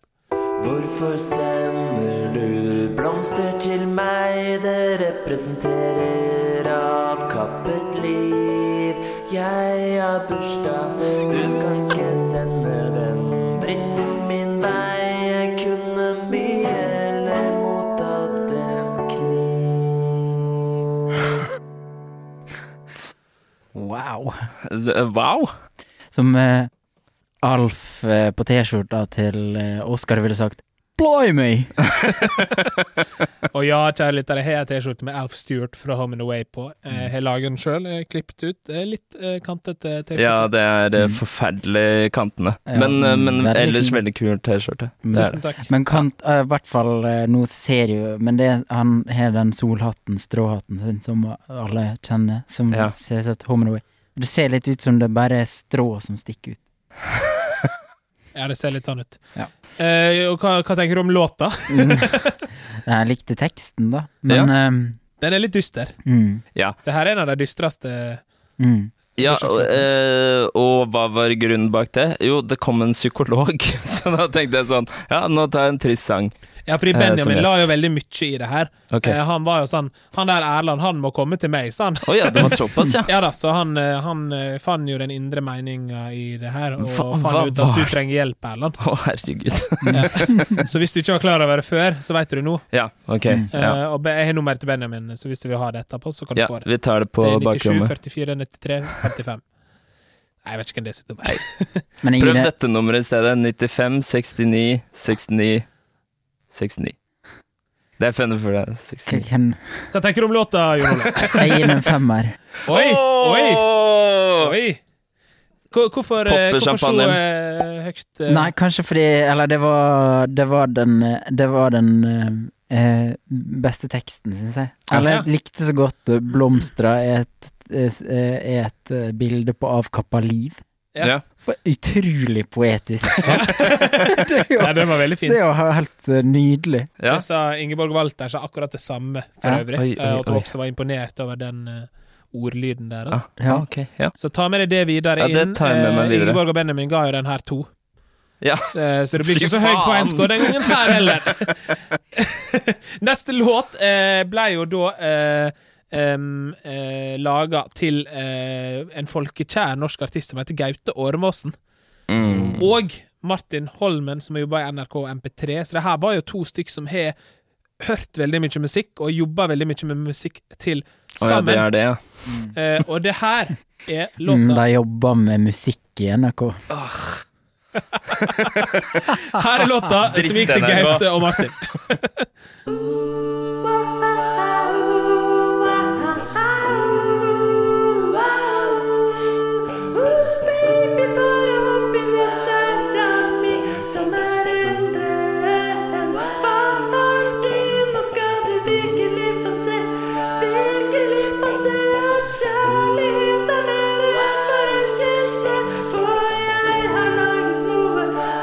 Speaker 4: Hvorfor sender du blomster til meg? Det representerer avkappet liv. Jeg har bursdag, du kan ikke sende den dritten min vei. Jeg kunne mye eller mottatt en kniv.
Speaker 3: Wow.
Speaker 2: Eh, Wow!
Speaker 3: Som eh, Alf eh, på T-skjorta til eh, Oskar ville sagt Bly meg!
Speaker 1: Og ja, kjære lyttere, jeg har en T-skjorte med Alf Stewart fra Home and Away på. Jeg
Speaker 2: Mm.
Speaker 1: har laget den sjøl, klippet ut. eh, Litt eh, kantete T-skjorte.
Speaker 2: Ja, det er eh, forferdelig kantene.
Speaker 3: Mm. Ja, mm,
Speaker 2: men eh, men
Speaker 3: veldig
Speaker 2: ellers
Speaker 3: fin.
Speaker 2: veldig kul T-skjorte. Det er det.
Speaker 1: Tusen takk.
Speaker 3: Men kan eh, i hvert fall eh, Nå ser jo Men det, han har den solhatten, stråhatten sin, som alle kjenner, som
Speaker 2: Ja.
Speaker 3: ser sett Home and Away. Det ser litt ut som det bare er strå som stikker ut.
Speaker 1: Ja, det ser litt sånn ut.
Speaker 3: Ja.
Speaker 1: Eh, og hva, hva tenker du om låta?
Speaker 2: [LAUGHS]
Speaker 3: Jeg likte teksten, da, men
Speaker 1: Den er litt dyster.
Speaker 3: eh, mm,
Speaker 1: Det her er en av de dystreste
Speaker 3: mm.
Speaker 2: Ja,
Speaker 1: Bursdagsnatten.
Speaker 2: og, eh, og hva var grunnen bak det? Jo, det kom en psykolog, [LAUGHS] så da tenkte jeg sånn Ja, nå tar jeg en trist sang.
Speaker 1: Ja, fordi
Speaker 2: Eh, som
Speaker 1: Benjamin
Speaker 2: gjest.
Speaker 1: la jo veldig mye i det her.
Speaker 2: Ok.
Speaker 1: Eh, han var jo sånn Han der Erland, han må komme til meg, sa han.
Speaker 2: Å ja, det var såpass, ja.
Speaker 1: Ja da, så han, eh, han eh, fant jo den indre meninga i det her, og
Speaker 2: Hva-
Speaker 1: fant
Speaker 2: hva
Speaker 1: ut at du
Speaker 2: var-
Speaker 1: trenger hjelp, Erland.
Speaker 2: Å, herregud. [LAUGHS]
Speaker 1: Så hvis du ikke var klar over det før, så veit du det nå.
Speaker 2: Ja, ok.
Speaker 3: Mm.
Speaker 1: Eh,
Speaker 2: Ja,
Speaker 1: Og be- jeg har nummeret til Benjamin, så hvis du vil ha det etterpå, så kan du
Speaker 2: ja
Speaker 1: få det.
Speaker 2: vi tar det på
Speaker 1: Det er 97,
Speaker 2: bakrommet.
Speaker 1: 44, 93, 55. Nei, jeg vet ikke hvem det er sitt nummer.
Speaker 3: Men jeg
Speaker 2: Prøv
Speaker 3: gir det
Speaker 2: dette nummeret i stedet. 95, 69, 69, 69. Det er funnet for deg. 69.
Speaker 3: Hvem-
Speaker 1: Hva tenker du om låta, Jon
Speaker 2: [LAUGHS]
Speaker 1: Olav?
Speaker 3: [LAUGHS] Jeg gir den en femmer.
Speaker 1: Oi! Oi!
Speaker 2: Åh!
Speaker 1: oi. Hvor- Hvorfor, eh,
Speaker 2: Popper
Speaker 1: hvorfor så
Speaker 2: champagnen.
Speaker 1: eh, høyt eh,
Speaker 3: Nei, kanskje fordi Eller det var, det var den eh, Det var den eh, eh, beste teksten, syns jeg. Eller jeg likte så godt eh, 'Blomstra' er et, eh, s- eh, er et eh, bilde på avkappa liv.
Speaker 1: Ja.
Speaker 2: Ja.
Speaker 3: For utrolig poetisk sagt. det er jo,
Speaker 1: Nei, den var veldig fin.
Speaker 3: [LAUGHS] det er jo helt eh, nydelig.
Speaker 2: Ja.
Speaker 1: Det sa Ingeborg Walter sa akkurat det samme for
Speaker 3: Ja.
Speaker 1: øvrig.
Speaker 2: Oi, oi,
Speaker 1: eh, at hun
Speaker 2: oi.
Speaker 1: også var imponert over den eh, ordlyden der. Altså.
Speaker 3: Ja.
Speaker 2: Ah, ok. Ja.
Speaker 1: Så ta med deg det videre
Speaker 2: Ja, det
Speaker 1: inn.
Speaker 2: tar jeg med meg
Speaker 1: Eh,
Speaker 2: videre.
Speaker 1: Ingeborg og Benjamin ga jo den her to.
Speaker 2: Ja.
Speaker 1: Eh, så det blir
Speaker 2: Fy
Speaker 1: ikke så høy
Speaker 2: faen!
Speaker 1: poengscore den gangen her
Speaker 2: [LAUGHS]
Speaker 1: heller. [LAUGHS] Neste låt eh, ble jo da eh, Um, eh, laga til eh, en folkekjær norsk artist som heter Gaute Ormåsen.
Speaker 2: Mm.
Speaker 1: Og Martin Holmen, som har jobba i NRK og MP3. Så det her var jo to stykk som har hørt veldig mye musikk, og jobba veldig mye med musikk til
Speaker 2: Å ja, det
Speaker 1: sammen.
Speaker 2: er det, ja.
Speaker 1: Eh, og det her er
Speaker 3: Mm,
Speaker 1: låta
Speaker 3: de jobber med musikk i NRK.
Speaker 1: Her er låta som gikk til
Speaker 2: Dritt, den er
Speaker 1: Gaute og Martin.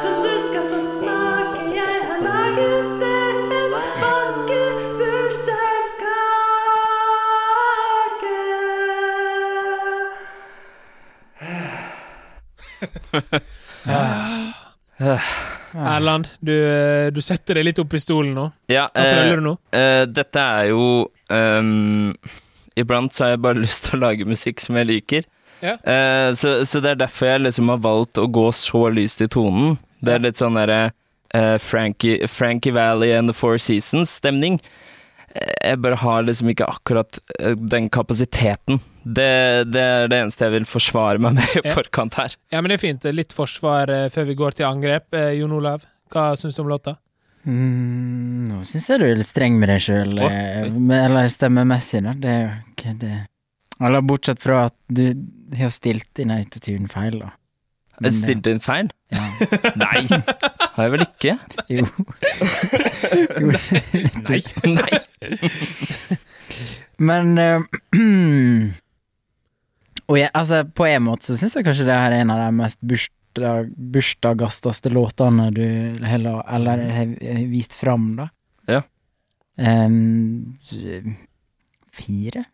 Speaker 9: Som du skal få smake, jeg har laget
Speaker 1: Erland, du, eh, du setter deg litt opp i stolen nå.
Speaker 2: Ja,
Speaker 1: Hva
Speaker 2: eh,
Speaker 1: føler du nå?
Speaker 2: eh, dette er jo ehm, Iblant så har jeg bare [LAUGHS] lyst til å lage musikk som jeg liker.
Speaker 1: Ja.
Speaker 2: Eh, så, så det er derfor jeg liksom har valgt å gå så lyst i tonen. Det er litt sånn derre eh, Frankie, Frankie Valley and The Four Seasons-stemning. Eh, Jeg bare har liksom ikke akkurat eh, den kapasiteten. Det, det er det eneste jeg vil forsvare meg med i
Speaker 1: Ja.
Speaker 2: forkant her.
Speaker 1: Ja, men det er fint. Litt forsvar eh, før vi går til angrep. Eh, Jon Olav, hva syns du om låta?
Speaker 3: Mm, nå syns jeg du er litt streng med deg sjøl,
Speaker 2: Å,
Speaker 3: eller stemmemessig, da. Det er jo ikke det Eller bortsett fra at du har stilt inn autotune feil, da. Men,
Speaker 2: Jeg stilte inn feil? Eh, Nei, har jeg vel ikke?
Speaker 3: eh,
Speaker 2: [LAUGHS]
Speaker 3: Jo. jo.
Speaker 1: Nei.
Speaker 2: Nei.
Speaker 3: [LAUGHS] Men eh, [CLEARS THROAT] Og jeg, altså, på en måte så syns jeg kanskje det her er en av de mest bursdag, bursdagasteste låtene du heller, eller har har vist fram, da.
Speaker 2: Ja.
Speaker 3: Em, s- fire?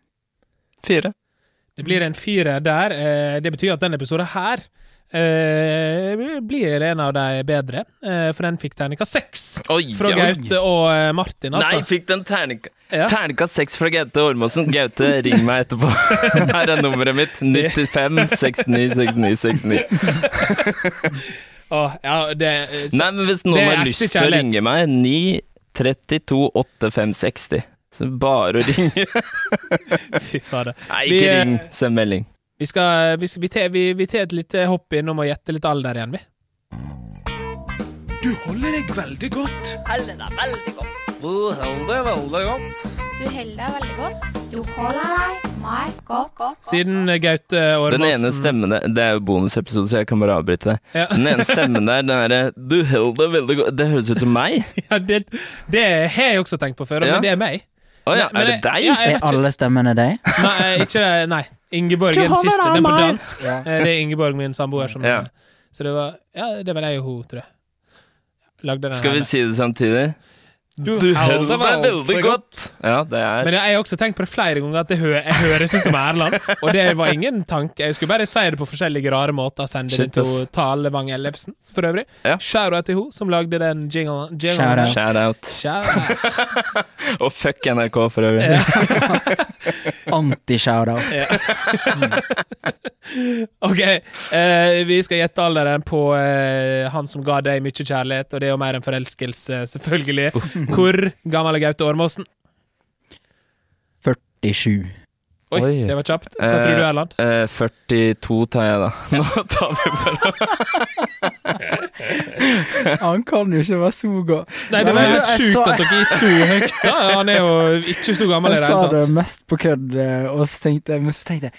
Speaker 2: Fire.
Speaker 1: Det blir en firer der. Eh, Det betyr at denne episoden her eh, blir en av de bedre, eh, for den fikk terninga seks
Speaker 2: Oi,
Speaker 1: fra
Speaker 2: oi.
Speaker 1: Gaute og eh, Martin,
Speaker 2: Nei,
Speaker 1: altså.
Speaker 2: fikk den terninga
Speaker 1: Ja.
Speaker 2: Terninga seks fra Gaute Ormåsen. Gaute, ring meg
Speaker 1: [LAUGHS]
Speaker 2: etterpå. Her er nummeret mitt. 95 69 69 69.
Speaker 1: Åh, ja, det, eh, så,
Speaker 2: Nei, men hvis noen
Speaker 1: Det er
Speaker 2: har
Speaker 1: ekte
Speaker 2: lyst til å
Speaker 1: kjærlighet.
Speaker 2: ringe meg, 9 32 85 60. Så bare å ringe.
Speaker 1: [LAUGHS] fy fader.
Speaker 2: Nei,
Speaker 1: Vi,
Speaker 2: ikke
Speaker 1: eh,
Speaker 2: ring. Send melding.
Speaker 1: Vi skal vi, vi, te- vi, vi tar et lite hopp innom og gjetter litt alder igjen, vi. Du holder deg veldig godt.
Speaker 6: Du holder deg veldig godt. Du holder deg meg godt.
Speaker 1: Siden eh, Gaute Ormåsen
Speaker 2: Den ene stemmen der Det er jo bonusepisode, så jeg kan bare avbryte det.
Speaker 1: Ja.
Speaker 2: Den ene stemmen der, den derre Du held deg veldig godt Det høres ut som
Speaker 1: [LAUGHS]
Speaker 2: meg.
Speaker 1: ja, det, det har jeg også tenkt på før,
Speaker 2: Ja.
Speaker 1: men det er meg.
Speaker 2: Å ja,
Speaker 1: Nei, men
Speaker 2: er det
Speaker 1: jeg-
Speaker 2: deg?
Speaker 1: Ja, jeg
Speaker 3: Er
Speaker 1: vet ikke.
Speaker 3: alle stemmene deg?
Speaker 1: Nei, ikke det. Nei. Ingeborg er den siste. Den på dansk. Eh, Det er Ingeborg, min samboer, som
Speaker 2: Ja.
Speaker 1: Så det var Ja, det var jeg og hun, tror jeg. Lagde den
Speaker 2: Skal vi
Speaker 1: her.
Speaker 2: si det samtidig?
Speaker 1: Du,
Speaker 2: Du
Speaker 1: holder
Speaker 2: holder deg veldig godt. Ja, det er
Speaker 1: Men jeg har også tenkt på det flere ganger, at det hø jeg høres ut som Erland. Og det var ingen tanke. Jeg skulle bare si det på forskjellige rare måter. Sende det
Speaker 2: Shit,
Speaker 1: til
Speaker 2: ass.
Speaker 1: hun, Tale Wang Ellefsen, for øvrig.
Speaker 2: Ja.
Speaker 1: Shout-out til hun som lagde den jinglen.
Speaker 3: Shout-out.
Speaker 2: shout-out.
Speaker 1: Shout-out.
Speaker 2: Og fuck NRK for øvrig.
Speaker 1: Ja.
Speaker 3: Anti-shoutout.
Speaker 1: Ok, eh, vi skal gjette alderen på eh, han som ga deg mye kjærlighet, og det er jo mer enn forelskelse, [LAUGHS] selvfølgelig. Hvor gammel er Gaute Ormåsen?
Speaker 3: 47.
Speaker 1: Oi,
Speaker 2: Oi.
Speaker 1: det var kjapt. Hva tror du, Erland?
Speaker 2: Eh, 42 tar jeg, da. [LAUGHS] Nå tar vi bare
Speaker 3: Han kan jo ikke være så god.
Speaker 1: Nei, det
Speaker 3: Nei,
Speaker 1: var
Speaker 3: men
Speaker 1: helt
Speaker 3: jeg
Speaker 1: sjukt
Speaker 3: sa-
Speaker 1: at dere gikk så høyt. da. Han er jo ikke så gammel i
Speaker 3: Jeg
Speaker 1: det
Speaker 3: sa
Speaker 1: hele
Speaker 3: det
Speaker 1: tatt.
Speaker 3: mest på kødd, eh, og så tenkte jeg, men så tenkte jeg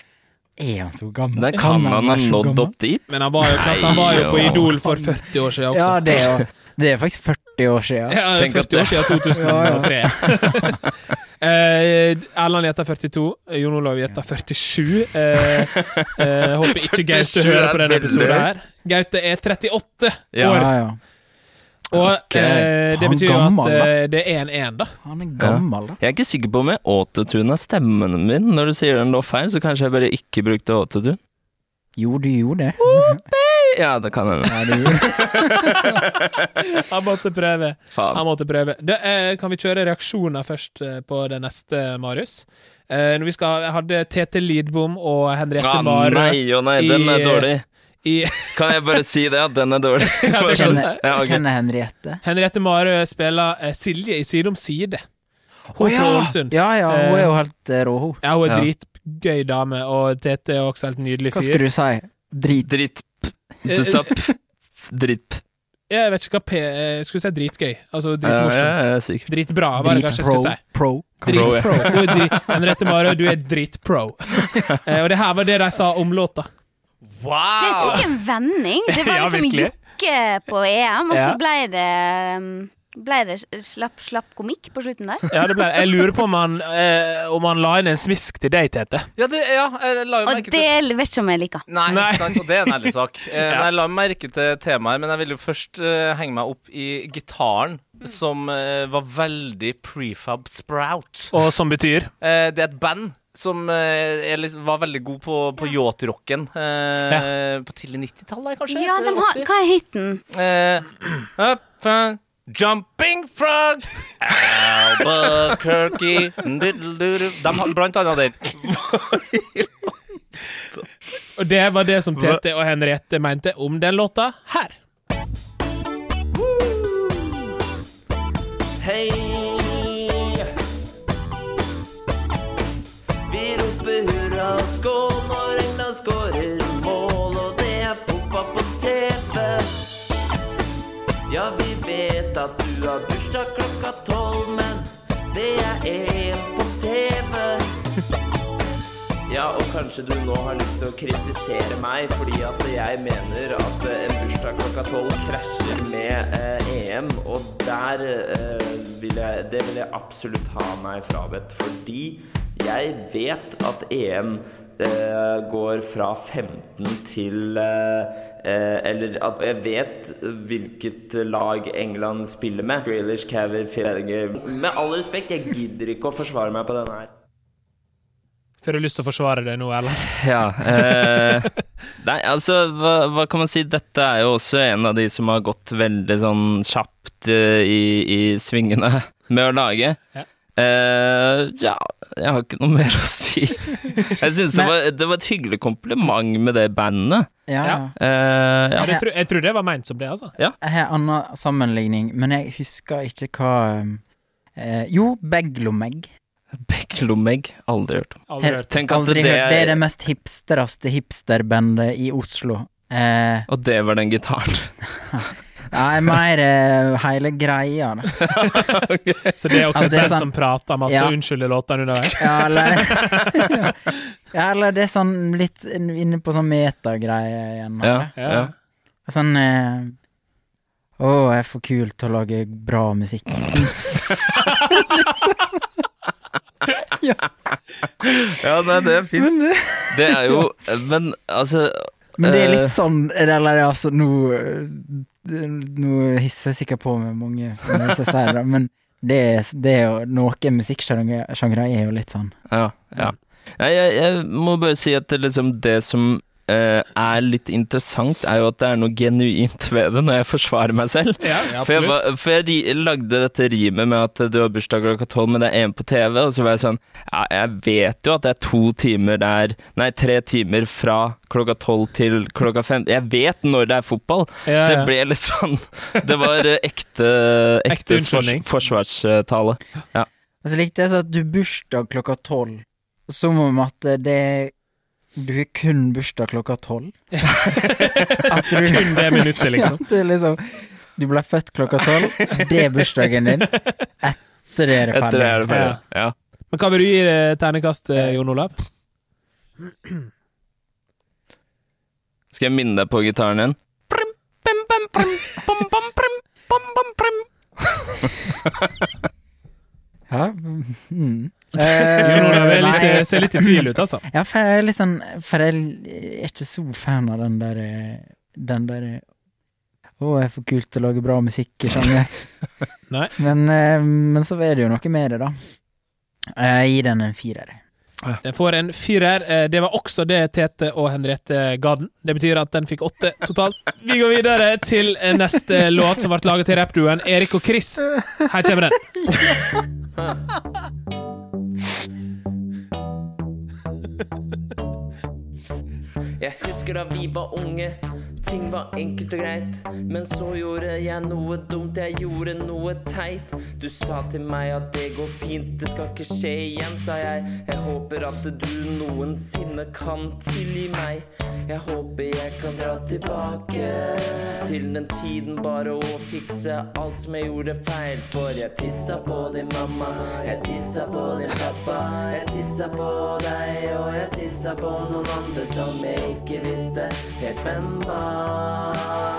Speaker 3: Er han så gammel?
Speaker 2: Den kan
Speaker 3: han
Speaker 2: han ha
Speaker 3: være så
Speaker 2: nådd
Speaker 3: gammel?
Speaker 2: opp dit.
Speaker 1: Men han var jo, klart, han var jo på
Speaker 2: Nei,
Speaker 1: Idol for 40 år
Speaker 2: altså.
Speaker 1: siden
Speaker 3: Ja,
Speaker 1: også.
Speaker 3: det er, jo- det er faktisk 40 år siden.
Speaker 1: Ja,
Speaker 2: Tenk at
Speaker 1: 40 år siden
Speaker 2: [LAUGHS]
Speaker 1: 2003. [LAUGHS] Eh, Erland gjetter 42, Jon Olav gjetter 47. Eh, eh, håper [LAUGHS] ikke Gaute
Speaker 2: 47
Speaker 1: hører
Speaker 2: er
Speaker 1: på denne
Speaker 2: veldig.
Speaker 1: episoden her. Gaute er 38
Speaker 2: Ja.
Speaker 1: år,
Speaker 3: Ja, ja.
Speaker 1: og
Speaker 2: Ok.
Speaker 1: eh, det
Speaker 3: Han
Speaker 1: betyr jo at
Speaker 3: gammel, da.
Speaker 1: eh, det er en 1, da.
Speaker 3: Han er gammel, da.
Speaker 2: Jeg er ikke sikker på om jeg autotuna stemmen min når du sier den lå feil, så kanskje jeg bare ikke brukte autotune.
Speaker 3: Jo, du gjorde det.
Speaker 2: Ja, det kan hende.
Speaker 3: Ja, du gjorde det.
Speaker 1: [LAUGHS] Han måtte prøve.
Speaker 2: Faen.
Speaker 1: Han måtte prøve. Det, eh, kan vi kjøre reaksjoner først eh, på det neste, Marius? Eh, når vi skal, jeg hadde Tete Lidbom og Henriette
Speaker 2: Ah,
Speaker 1: Marød
Speaker 2: nei, å nei, den
Speaker 1: i-
Speaker 2: er dårlig.
Speaker 1: i
Speaker 2: Kan jeg bare si det, at den er
Speaker 9: [LAUGHS]
Speaker 2: dårlig?
Speaker 1: Ja, det kan du si.
Speaker 2: Ja, ok.
Speaker 3: Hvem er Henriette?
Speaker 1: Henriette Marø spiller eh, Silje i Side om side. Hun
Speaker 3: Å,
Speaker 1: er fra Ålesund. Ja.
Speaker 3: Ja, ja, hun er jo helt eh, rå, hun.
Speaker 1: hun er
Speaker 2: Ja.
Speaker 1: dritgøy dame, og Tete er også helt nydelig
Speaker 3: Hva
Speaker 1: fyr.
Speaker 3: skulle du si? Drit.
Speaker 2: Dritt.
Speaker 9: Eh,
Speaker 2: Du sa p...
Speaker 9: [LAUGHS]
Speaker 2: Dritt.
Speaker 1: Jeg vet ikke hva P eh, Skulle si dritgøy. Altså
Speaker 2: Ja,
Speaker 1: dritmorsom.
Speaker 2: ja, ja, sikkert.
Speaker 1: Dritbra, var det kanskje jeg
Speaker 3: Dritpro.
Speaker 1: skulle si.
Speaker 3: Pro.
Speaker 2: Pro, ja.
Speaker 1: Dritpro. Hun er dri- Henriette Marø, du er dritpro. [LAUGHS] Eh, og det her var det de sa om låta.
Speaker 5: Det tok en vending. Det [LAUGHS] var
Speaker 1: Ja,
Speaker 5: liksom
Speaker 1: virkelig.
Speaker 5: jokke på EM, og så
Speaker 1: Ja.
Speaker 5: ble det um, ble det slapp, slapp komikk på slutten der.
Speaker 1: Ja, det ble, jeg lurer på om han, eh, om han la inn en smisk til deg, Tete.
Speaker 9: Ja, det, ja jeg la jo
Speaker 5: Og
Speaker 9: merke
Speaker 5: det
Speaker 9: til
Speaker 5: vet ikke om jeg liker.
Speaker 9: Nei,
Speaker 1: Nei.
Speaker 9: ikke sant, og det er en ærlig sak. Eh, Men jeg la merke til temaet, men jeg ville jo først eh, henge meg opp i gitaren, som eh, var veldig prefab sprout.
Speaker 1: Og som betyr
Speaker 9: Eh, det er et band som eh, er liksom, var veldig god på, på yacht-rocken eh, på tidlig 90-tallet, kanskje?
Speaker 5: Ja, de
Speaker 9: Eh,
Speaker 5: har, hva er hiten?
Speaker 9: Eh, up frog, jumping frog, Albuquerque diddle-doodle. De har blant annet den.
Speaker 1: Og det var det som Tete og Henriette mente om den låta her.
Speaker 4: Hei! Vi roper hurra og skål når England skårer mål, og det er fotball på TV. Ja, vi vet at du har bursdag klokka tolv, men det er EM på TV. Ja, og kanskje du nå har lyst til å kritisere meg fordi at jeg mener at eh, en bursdag klokka tolv krasjer med eh, EM, og der eh, vil jeg, det vil jeg absolutt ha meg frabedt, fordi jeg vet at EM eh, går fra 15 til eh, eh, Eller at jeg vet hvilket lag England spiller med. Grealish, Cavill, Fjellige Med all respekt, jeg gidder ikke å forsvare meg på denne her.
Speaker 1: Får du lyst til å forsvare deg nå, Erlend?
Speaker 2: Ja. [LAUGHS] Eh, nei, altså, hva, hva kan man si? Dette er jo også en av de som har gått veldig sånn kjapt eh, i, i svingene [LAUGHS] med å lage.
Speaker 1: Ja.
Speaker 2: Eh, ja, jeg har ikke noe mer å si. [LAUGHS] Jeg syns det,
Speaker 3: Men-
Speaker 2: var- det var et hyggelig kompliment med det bandet.
Speaker 3: Ja, ja.
Speaker 1: Ja.
Speaker 2: Eh, ja.
Speaker 1: Men Jeg, tror, jeg tror det var meint som det, altså.
Speaker 3: Jeg har en annen sammenligning, men jeg husker ikke hva eh, Jo, Beglomeg.
Speaker 2: Beklomegg, aldri hørt om.
Speaker 1: Aldri
Speaker 3: Her-
Speaker 1: hørt.
Speaker 2: Tenk at
Speaker 3: Aldri
Speaker 2: det,
Speaker 3: hørt. Det er det mest hipstereste hipsterbandet i Oslo. Eh,
Speaker 2: Og det var den gitaren.
Speaker 3: nei, mer eh, hele greia, da.
Speaker 1: Så det er også
Speaker 3: Ja,
Speaker 1: et
Speaker 3: det er
Speaker 1: band
Speaker 3: sant.
Speaker 1: som prater masse
Speaker 3: Ja.
Speaker 1: og unnskylder låtene underveis.
Speaker 3: Ja, eller [LAUGHS] Ja, eller det er sånn litt inne på sånn metagreie igjen.
Speaker 2: Ja,
Speaker 3: eller?
Speaker 2: ja.
Speaker 3: Sånn eh, Å, jeg er for kul til å lage bra musikk.
Speaker 2: ja nei, det er fint.
Speaker 3: Men det,
Speaker 2: Det er jo Men altså
Speaker 3: men det er
Speaker 2: Eh.
Speaker 3: litt sånn Eller altså, nå eh, Nå hisser jeg sikkert på med mange hvis jeg sier det, men det er, det er jo Noen musikksjangre er jo litt sånn.
Speaker 2: Ja, ja. Nei, jeg, jeg må bare si at det, liksom, det som eh, er litt interessant, er jo at det er noe genuint ved det når jeg forsvarer meg selv.
Speaker 1: Ja, ja,
Speaker 2: for jeg,
Speaker 1: absolutt.
Speaker 2: var- for jeg ri- lagde dette rimet med at du har bursdag klokka tolv, men det er én på TV, og så var jeg sånn ja, Jeg vet jo at det er to timer der Nei, tre timer fra klokka tolv til klokka fem. Jeg vet når det er fotball,
Speaker 1: Ja,
Speaker 2: så
Speaker 1: ja.
Speaker 2: jeg ble litt sånn [LAUGHS] Det var eh, ekte,
Speaker 1: Ekte
Speaker 2: ekte, fors
Speaker 1: unnskyldning.
Speaker 2: forsvarstale.
Speaker 3: Og så likte Altså, jeg så at du bursdag klokka tolv, som om at det Du har kun bursdag klokka tolv. At du
Speaker 1: Kun det minuttet, liksom.
Speaker 3: Ja, det er liksom Du ble født klokka tolv, det er bursdagen din. Etter det er det
Speaker 2: Etter
Speaker 3: ferdig.
Speaker 2: det er det ferdig. Ja.
Speaker 1: [LAUGHS] Men hva vil du gi eh, ternekast, eh, Jon Olav?
Speaker 2: Skal jeg minne deg på gitaren din? Prim, pim, pim, prim, pom, pom, prim, pom, pom, prim.
Speaker 3: Ja. mm.
Speaker 1: Jon Olav er
Speaker 3: Eh,
Speaker 1: litt,
Speaker 3: nei,
Speaker 1: eh, ser litt i tvil ut, altså.
Speaker 3: Ja, for jeg er litt sånn For jeg er ikke så fan av den der eh, Den der eh, Å, jeg er for kul til å lage bra musikk i sjanger.
Speaker 1: Nei.
Speaker 3: men, eh, men så er det jo noe med det, da. Jeg gir den en firer.
Speaker 1: Den får en firer. Eh, Det var også det Tete og Henriette ga den. Det betyr at den fikk åtte totalt. Vi går videre til eh, neste låt, som ble laget til rappduoen Erik og Chris. Her kommer den.
Speaker 4: Jeg husker da vi var unge, ting var enkelt og greit. Men så gjorde jeg noe dumt, jeg gjorde noe teit. Du sa til meg at det går fint, det skal ikke skje igjen, sa jeg. Jeg håper at du noensinne kan tilgi meg. Jeg håper jeg kan dra tilbake til den tiden bare å fikse alt som jeg gjorde feil. For jeg tissa på din mamma, jeg tissa på din pappa, jeg tissa på deg, og jeg tissa på noen andre som jeg ikke visste helt hvem var.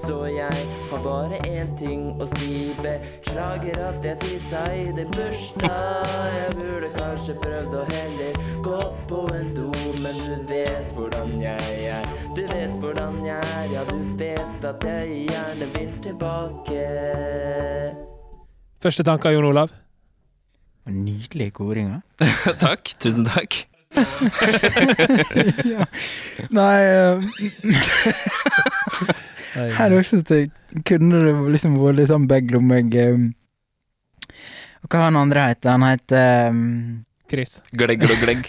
Speaker 4: Så jeg har bare én ting å si. Beklager at jeg tissa i din bursdag. Jeg burde kanskje prøvd å heller gått på en do, men du vet hvordan jeg er. Du vet hvordan jeg er, ja, du vet at jeg gjerne vil tilbake.
Speaker 1: Første tanker, Jon Olav?
Speaker 3: Nydelige koringer.
Speaker 2: takk. Tusen takk.
Speaker 3: ja. Nei eh, Her også synes jeg kunne det liksom vært litt sånn begge om jeg eh, Og hva han andre heter? Han heter eh,
Speaker 1: Chris.
Speaker 2: Glegg, glegg, glegg.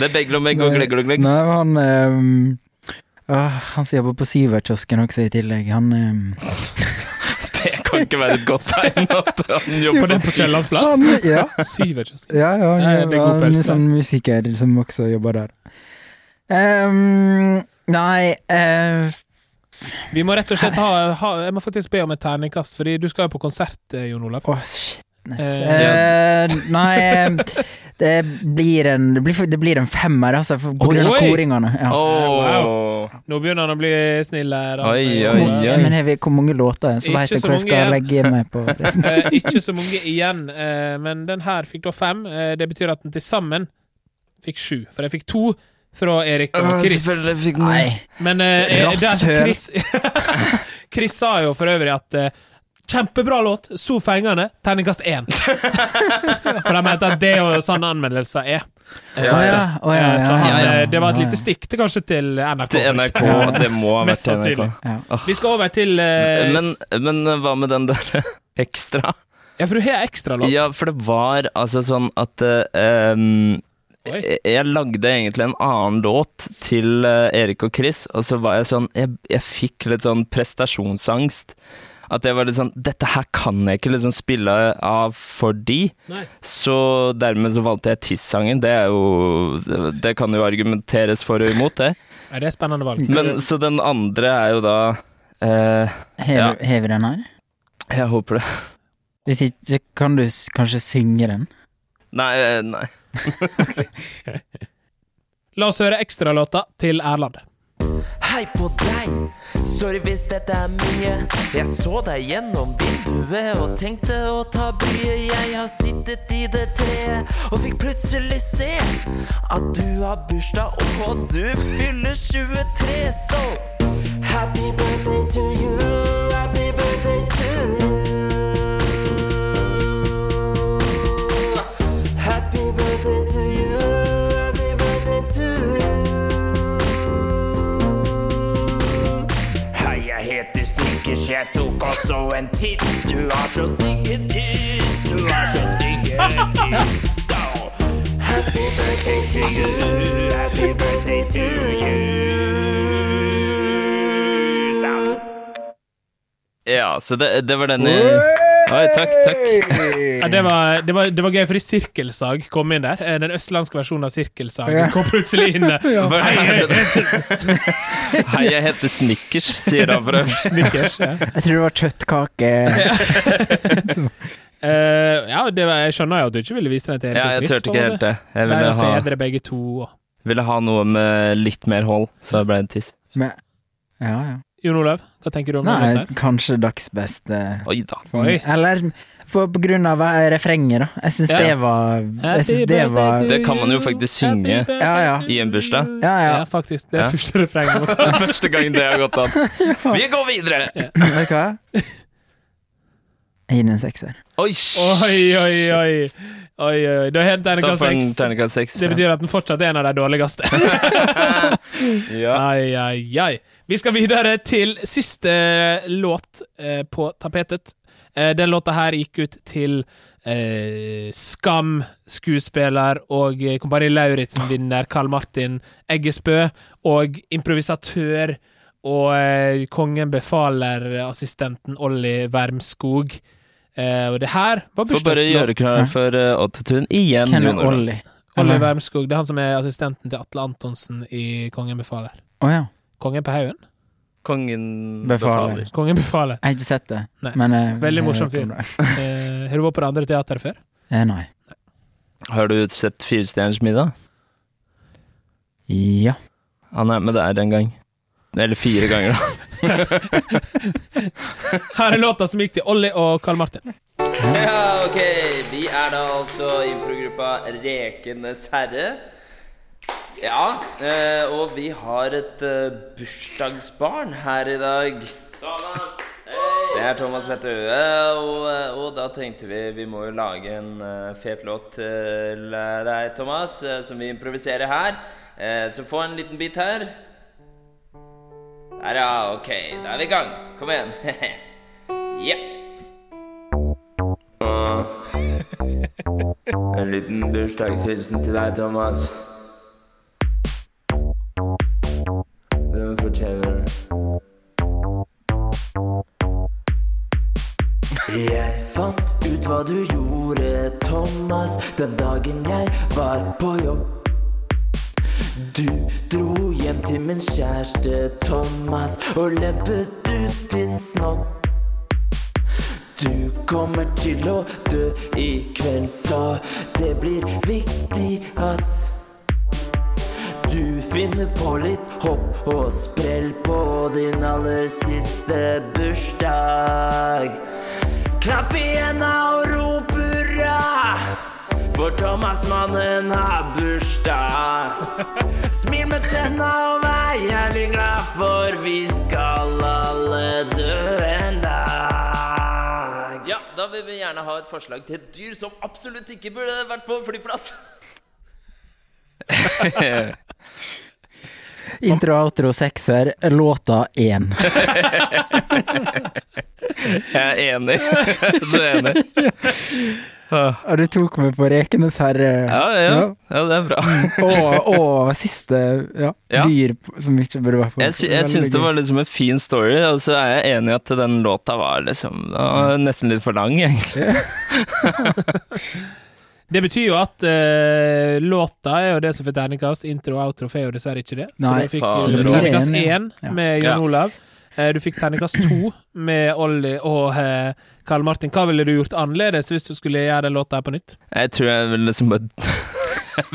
Speaker 2: Det er beglommegg og glegg, glegg, glegg.
Speaker 3: Nei, han eh, ah, Han som jobber på Syverkiosken også i tillegg. Han eh,
Speaker 2: Det kan ikke være et godt tegn at han
Speaker 1: På
Speaker 2: jobber
Speaker 1: den på Kiellands plass?
Speaker 3: Han, ja.
Speaker 1: Syver, just.
Speaker 3: Ja, ja,
Speaker 1: Nei,
Speaker 3: han
Speaker 1: det er god
Speaker 3: var en
Speaker 1: pels, det.
Speaker 3: sånn musiker som også jobber der. Ehm, nei eh,
Speaker 1: Vi må rett og slett ha, ha Jeg må faktisk be om et terningkast, Fordi du skal jo på konsert, eh, Jon Olav.
Speaker 3: Å, shitness.
Speaker 1: Eh,
Speaker 3: Eh, nei, eh, det blir en Det blir, det blir en femmer, altså, for, på
Speaker 2: Oi.
Speaker 3: grunn av
Speaker 1: Oi.
Speaker 3: koringene. Ja.
Speaker 2: Wow.
Speaker 1: Nå begynner han å bli snill her. han-
Speaker 2: Oi,
Speaker 3: Hvor-
Speaker 2: oi, oi.
Speaker 3: Men har vi hvor mange låter, så
Speaker 1: Ikke
Speaker 3: veit jeg
Speaker 1: så
Speaker 3: hvor jeg
Speaker 1: mange
Speaker 3: skal
Speaker 1: igjen.
Speaker 3: legge meg på resten.
Speaker 1: [LAUGHS] Eh, ikke så mange igjen, eh, men den her fikk da fem. Eh, det betyr at den til sammen fikk sju. For jeg fikk to fra Erik og Chris.
Speaker 2: Selvfølgelig fikk den
Speaker 3: Nei.
Speaker 1: Men eh, eh, der,
Speaker 3: Rasshøl.
Speaker 1: Chris, [LAUGHS] Chris sa jo for øvrig at eh, Kjempebra låt, så fengende, terningkast én. [LAUGHS] For de mente at det er jo sånn anmeldelser er.
Speaker 3: Å ja, å ja,
Speaker 1: Eh,
Speaker 3: ja,
Speaker 1: Så han,
Speaker 3: ja, ja,
Speaker 1: eh, det var et
Speaker 3: ja,
Speaker 1: lite
Speaker 3: ja.
Speaker 1: stikk til kanskje til NRK.
Speaker 2: til
Speaker 1: for
Speaker 2: NRK.
Speaker 1: eksempel.
Speaker 2: Det må ha vært
Speaker 1: Mest
Speaker 2: til NRK.
Speaker 1: sannsynlig.
Speaker 3: Ja.
Speaker 1: Vi skal over til eh,
Speaker 2: Men,
Speaker 1: s-
Speaker 2: men hva med den der ekstra?
Speaker 1: Ja, for du har ekstralåt.
Speaker 2: Ja, for det var altså sånn at eh, um,
Speaker 1: Oi.
Speaker 2: jeg jeg lagde egentlig en annen låt til eh, Erik og Chris, og så var jeg sånn Jeg, jeg fikk litt sånn prestasjonsangst. At jeg var litt sånn Dette her kan jeg ikke liksom spille av for de.
Speaker 1: Nei.
Speaker 2: Så dermed så valgte jeg Tiss-sangen. Det er jo det- Det kan jo argumenteres for og imot, det.
Speaker 1: Nei, det er spennende valg.
Speaker 2: Men så den andre er jo da eh,
Speaker 3: Har du- har vi den her?
Speaker 2: Jeg håper det
Speaker 3: Hvis ikke, kan du s- kanskje synge den?
Speaker 2: Nei, eh, nei.
Speaker 1: La oss høre ekstralåta til Erland.
Speaker 4: Hei på deg, sorry hvis dette er mye. Jeg så deg gjennom vinduet og tenkte å ta bryet. Jeg har sittet i det treet og fikk plutselig se at du har bursdag og du fyller 23, så happy birthday to you. Happy birthday to you. Happy birthday to you. Happy birthday to you. Hei, jeg heter Snickers, jeg tok også en titt. Du har så digge tits, du har så digge tits. Så happy birthday to you, happy birthday to you. Så.
Speaker 2: Ja, så det, det var den i Oi, takk, takk.
Speaker 1: Ja, det, var, det, var, det var gøy, fordi Sirkelsag kom inn der. Eh, Den østlandske versjonen av Sirkelsag
Speaker 3: Ja.
Speaker 1: kom plutselig inn eh,
Speaker 3: [LAUGHS]
Speaker 1: der.
Speaker 2: Hva er det? Hei, jeg heter Snickers, sier han for øvrig.
Speaker 1: Snickers. Ja,
Speaker 3: Jeg tror det var kjøttkake.
Speaker 1: [LAUGHS] Eh, ja det var, jeg skjønner jo at du ikke ville vise den til Erik
Speaker 2: Ja,
Speaker 1: og
Speaker 2: jeg
Speaker 1: Chris.
Speaker 2: turte ikke helt det. Jeg
Speaker 1: ville
Speaker 2: ville ha,
Speaker 1: fedre begge to. og-
Speaker 2: ville ha noe med litt mer hold, så det ble en tiss.
Speaker 3: Men, ja, ja.
Speaker 1: Jon Olav, hva tenker du om den
Speaker 3: Nei,
Speaker 1: låta? her?
Speaker 3: kanskje dagsbeste.
Speaker 2: Oi da.
Speaker 1: Oi.
Speaker 3: Eller for, på grunn av eh, refrenget, da. Jeg syns
Speaker 1: Ja.
Speaker 3: det var Jeg syns det var
Speaker 2: Det kan man jo faktisk synge
Speaker 3: Ja, ja.
Speaker 2: i en bursdag.
Speaker 3: Ja, ja.
Speaker 1: Ja, faktisk. Det er
Speaker 2: Ja.
Speaker 1: første refrenget. vårt.
Speaker 2: Første gang det har gått an. Vi går videre!
Speaker 3: [LAUGHS] Vet du hva? Jeg gir den en sekser.
Speaker 2: [LAUGHS] Oi,
Speaker 1: Oi, oi, oi. oi, oi. Da har den
Speaker 2: takk
Speaker 1: terningkast
Speaker 2: for en
Speaker 1: seks.
Speaker 2: terningkast seks.
Speaker 1: Det betyr at den fortsatt er en av de dårligste.
Speaker 2: Ja.
Speaker 1: Ai, ai, ai. Vi skal videre til siste låt eh, på tapetet. Eh, den låta her gikk ut til eh, Skam, skuespiller og eh, Kompani Lauritzen-vinner Karl Martin Eggesbø, og improvisatør og eh, Kongen befaler-assistenten Olli Wermskog. Eh, og det her var
Speaker 2: Får bare
Speaker 1: bursdagslåten.
Speaker 2: gjøre klar for uh, Ottotun igjen.
Speaker 3: Ken og
Speaker 2: Jon Olav.
Speaker 3: Ollie.
Speaker 1: Olli
Speaker 3: Eller-
Speaker 1: Wermskog, det er han som er assistenten til Atle Antonsen i Kongen befaler.
Speaker 3: Å ja.
Speaker 1: Kongen på haugen?
Speaker 2: Kongen
Speaker 3: Befaler.
Speaker 2: befaler.
Speaker 1: Kongen befaler.
Speaker 3: Jeg har ikke sett det.
Speaker 1: Nei.
Speaker 3: Men, eh,
Speaker 1: Veldig morsom
Speaker 3: jeg-
Speaker 1: Eh, Har du vært på det andre teateret før?
Speaker 3: Eh, nei.
Speaker 2: Har du sett Firestjerners middag?
Speaker 3: Ja.
Speaker 2: Han er med der en gang. Eller fire ganger, da.
Speaker 1: Her er låta som gikk til Olli og Karl Martin.
Speaker 4: Ja, ok. Vi er da altså improgruppa Rekenes herre. Ja, eh, og vi har et eh, bursdagsbarn her i dag. Danas! Hei!
Speaker 2: Jeg er Thomas Fette Høe, og, eh, og da tenkte vi vi må jo lage en eh, fet låt til eh, deg, Thomas, eh, som vi improviserer her. Eh, Så få en liten bit her. Der, ja. Ok, da er vi i gang. Kom igjen. [LAUGHS] Ja. En liten bursdagshilsen til deg, Thomas. Den fortjener det.
Speaker 4: Jeg fant ut hva du gjorde, Thomas, den dagen jeg var på jobb. Du dro hjem til min kjæreste, Thomas, og lempet ut din snobb. Du kommer til å dø i kveld, så det blir viktig at du finner på litt hopp og sprell på din aller siste bursdag. Klapp i henda og rop hurra, for Thomas-mannen har bursdag. Smil med tenna og vær jævlig glad, for vi skal alle dø en dag.
Speaker 2: Ja, da vil vi gjerne ha et forslag til et dyr som absolutt ikke burde vært på en flyplass.
Speaker 3: Intro, outro, sekser, låta
Speaker 1: [LAUGHS]
Speaker 3: én.
Speaker 2: Jeg er enig. [LAUGHS] Så enig.
Speaker 3: Og du tok meg på Rekenes herre.
Speaker 2: Ja, ja, ja. ja det er bra.
Speaker 3: Og, og siste ja,
Speaker 2: Ja.
Speaker 3: dyr p- som ikke burde være på.
Speaker 2: Jeg, sy jeg syns det var liksom en fin story, og så er jeg enig i at den låta var liksom den var nesten litt for lang, [LAUGHS] egentlig.
Speaker 1: Det betyr jo at eh, låta er jo det som får terningkast. Intro og outro får jo dessverre ikke det. Så
Speaker 3: Nei,
Speaker 1: du fikk
Speaker 2: faen,
Speaker 1: eh,
Speaker 2: det blir
Speaker 1: terningkast
Speaker 3: en, ja.
Speaker 1: én
Speaker 3: Ja.
Speaker 1: med Jon
Speaker 2: Ja.
Speaker 1: Olav. Eh, Du fikk terningkast to med Olli og eh, Karl Martin. Hva ville du gjort annerledes hvis du skulle gjøre den låta her på nytt?
Speaker 2: Jeg tror jeg ville liksom bare [LAUGHS]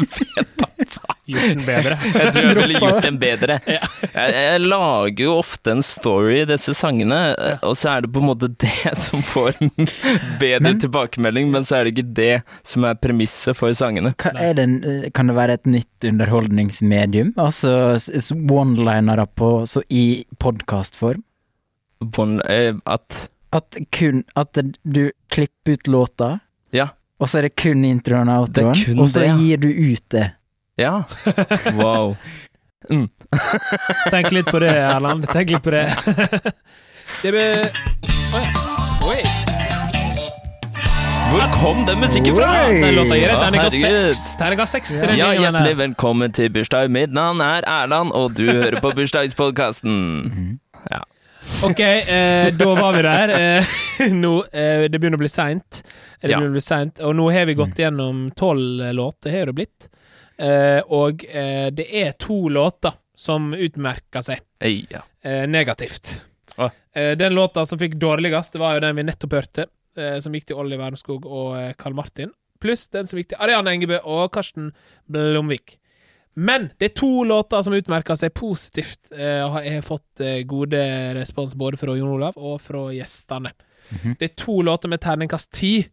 Speaker 1: Gjort den bedre.
Speaker 2: Jeg tror jeg ville gjort den bedre. [LAUGHS] Jeg, jeg lager jo ofte en story i disse sangene, og så er det på en måte [LAUGHS] det som får bedre tilbakemelding, men så er det ikke det som er premisset for sangene.
Speaker 3: Hva er det, en- kan det være et nytt underholdningsmedium? Altså s- s- one-linere på- så i podkastform?
Speaker 2: Bon- eh, At
Speaker 3: At kun At du klipper ut låta,
Speaker 2: Ja.
Speaker 3: og så er det kun introen og
Speaker 2: Det er
Speaker 3: outroen,
Speaker 2: kun
Speaker 3: og så
Speaker 2: det, ja.
Speaker 3: gir du ut det.
Speaker 2: [LAUGHS] Ja. Wow.
Speaker 1: Tenk litt på det, Erland. Tenk litt på det. det ble... Oi. Oi.
Speaker 2: Hvor kom den musikken fra?
Speaker 3: Oi.
Speaker 1: Den låta gir et
Speaker 2: Ja,
Speaker 1: terningkast
Speaker 2: herregud.
Speaker 1: seks. Terningkast seks til den
Speaker 2: Ja,
Speaker 1: gjengen
Speaker 2: hjertelig
Speaker 1: her.
Speaker 2: velkommen til bursdag. Mitt navn er Erland, og du hører
Speaker 1: [LAUGHS]
Speaker 2: på bursdagspodkasten.
Speaker 1: Mhm. Ok, eh, da var vi der. Eh, [LAUGHS] nå, eh, det begynner å bli seint. Det
Speaker 2: Ja.
Speaker 1: begynner å bli sent, Og nå har vi gått gjennom tolv låter, har det blitt. Eh, og eh, det er to låter som utmerker seg
Speaker 2: Ei, ja.
Speaker 1: eh, negativt.
Speaker 2: Å.
Speaker 1: Eh, den låta som fikk dårligst, det var jo den vi nettopp hørte, eh, som gikk til Olli Wermskog og eh, Karl Martin. Pluss den som gikk til Ariane Engebø og Karsten Blomvik. Men det er to låter som utmerker seg positivt, eh, og har- jeg har fått eh, gode respons både fra Jon Olav og fra gjestene. Det er to låter med terningkast ti.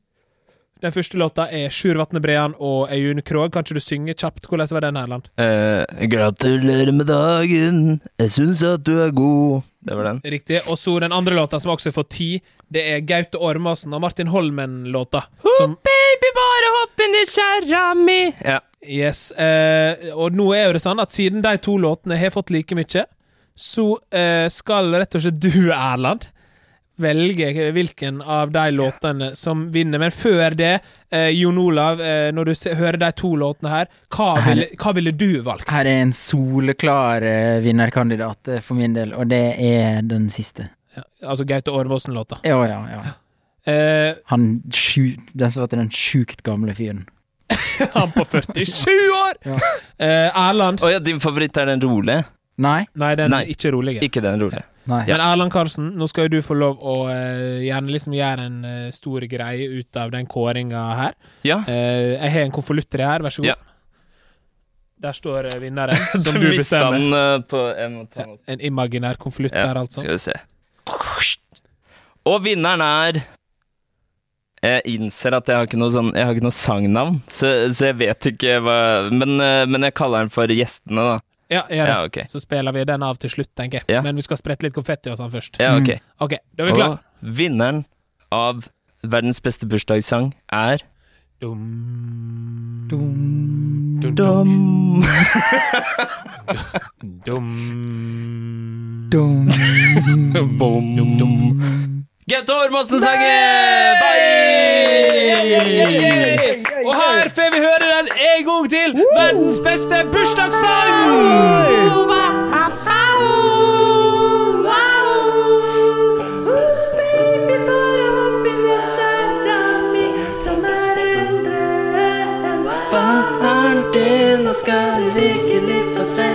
Speaker 1: Den første låta er Sjur Vatne Brean og Øyunn Krogh. Kan ikke du synge kjapt? Hvordan var den, Erland?
Speaker 2: Eh, gratulerer med dagen, jeg syns at du er god. Det var den.
Speaker 1: Riktig. Og så den andre låta som også har fått ti, det er Gaute Ormåsen og Martin Holmen-låta. Som,
Speaker 2: Baby, bare hopp inn i kjerra mi. Ja.
Speaker 1: yes, eh, og nå er jo det sånn at siden de to låtene har fått like mye, så eh, skal rett og slett du, Erland, velge hvilken av de låtene som vinner. Men før det, eh, Jon Olav, eh, når du se, hører de to låtene her, hva ville, hva ville du valgt?
Speaker 3: Her er en soleklar eh, vinnerkandidat eh, for min del, og det er den siste.
Speaker 1: Altså Gaute Ormåsen-låta.
Speaker 3: Ja, ja, ja.
Speaker 1: Eh,
Speaker 3: Han sju, den som heter den sjukt gamle fyren.
Speaker 1: han på 47 år!
Speaker 3: Ja.
Speaker 1: Eh, Erland
Speaker 2: Å ja, din favoritt er den rolige?
Speaker 3: Nei,
Speaker 1: Nei, den
Speaker 2: Nei.
Speaker 1: er ikke rolig.
Speaker 2: Ikke den rolige.
Speaker 3: nei.
Speaker 1: Men Erland Karlsen, nå skal jo du få lov å eh, gjerne liksom gjøre en eh, stor greie ut av den kåringa her.
Speaker 2: Ja.
Speaker 1: Eh, jeg har en konvolutt til deg her, vær så god.
Speaker 2: Ja.
Speaker 1: Der står eh,
Speaker 2: [LAUGHS]
Speaker 1: vinneren, som
Speaker 2: Du
Speaker 1: du
Speaker 2: mista
Speaker 1: bestemmer.
Speaker 2: den eh, på en måte.
Speaker 1: En imaginær konvolutt
Speaker 2: Ja,
Speaker 1: der, altså.
Speaker 2: Skal vi se. Og vinneren er Jeg innser at jeg har ikke noe, sånn, jeg har ikke noe sangnavn, så, så jeg vet ikke hva men, eh, men jeg kaller den for Gjestene, da.
Speaker 1: Ja, gjør det.
Speaker 2: Ja, ok.
Speaker 1: Så spiller vi den av til slutt, tenker jeg.
Speaker 2: Ja.
Speaker 1: Men vi skal sprette litt konfetti og sånn først.
Speaker 2: Ja, ok.
Speaker 1: Ok, da er vi klare.
Speaker 2: Å, Vinneren av verdens beste bursdagssang er
Speaker 1: Dum,
Speaker 3: Dum.
Speaker 1: dum,
Speaker 2: Dum.
Speaker 1: dum.
Speaker 3: Dum.
Speaker 2: Bom. Gaute Ormåsen-sangen! Bye!
Speaker 1: Og her får vi høre den en gang til! Verdens beste bursdagssang!
Speaker 4: Faren din, nå skal du virkelig få se.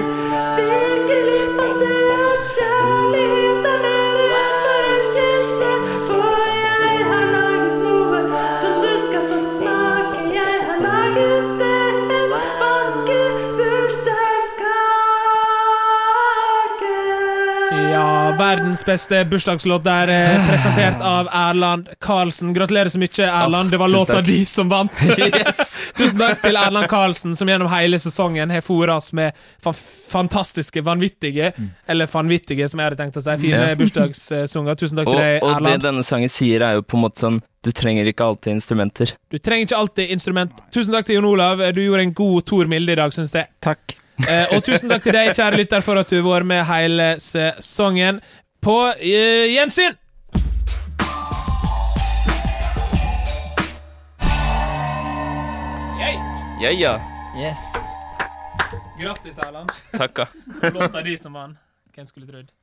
Speaker 4: Virkelig få se at kjærlighet er mer enn forelskelse. For jeg har laget noe som du skal få smake. Jeg har laget en vakker bursdagskake.
Speaker 1: Ja, verdens beste bursdagslåt der, eh, presentert av Erland Karlsen. Gratulerer så mye, Erland. Det var
Speaker 2: tusen
Speaker 1: låta
Speaker 2: takk.
Speaker 1: di som vant.
Speaker 2: [LAUGHS] Yes.
Speaker 1: Tusen takk til Erland Karlsen, som gjennom hele sesongen har fôret oss med fan fantastiske, vanvittige, eller vanvittige, som jeg hadde tenkt å si, fine
Speaker 2: Mm. Ja.
Speaker 1: [LAUGHS] bursdagssanger. Tusen takk
Speaker 2: Og,
Speaker 1: til deg,
Speaker 2: og det
Speaker 1: Erland.
Speaker 2: denne sangen sier, er jo på en måte sånn Du trenger ikke alltid instrumenter.
Speaker 1: Du trenger ikke alltid instrument. Tusen takk til Jon Olav. Du gjorde en god Tor Milde i dag, syns jeg.
Speaker 3: Takk.
Speaker 1: Eh, og tusen takk til deg, kjære lytter, for at du har vært med hele sesongen. På eh, gjensyn!
Speaker 2: Ja, ja.
Speaker 3: Yes.
Speaker 1: Grattis, Erland.
Speaker 2: Takka.
Speaker 1: Låta di som vant. Hvem skulle trodd?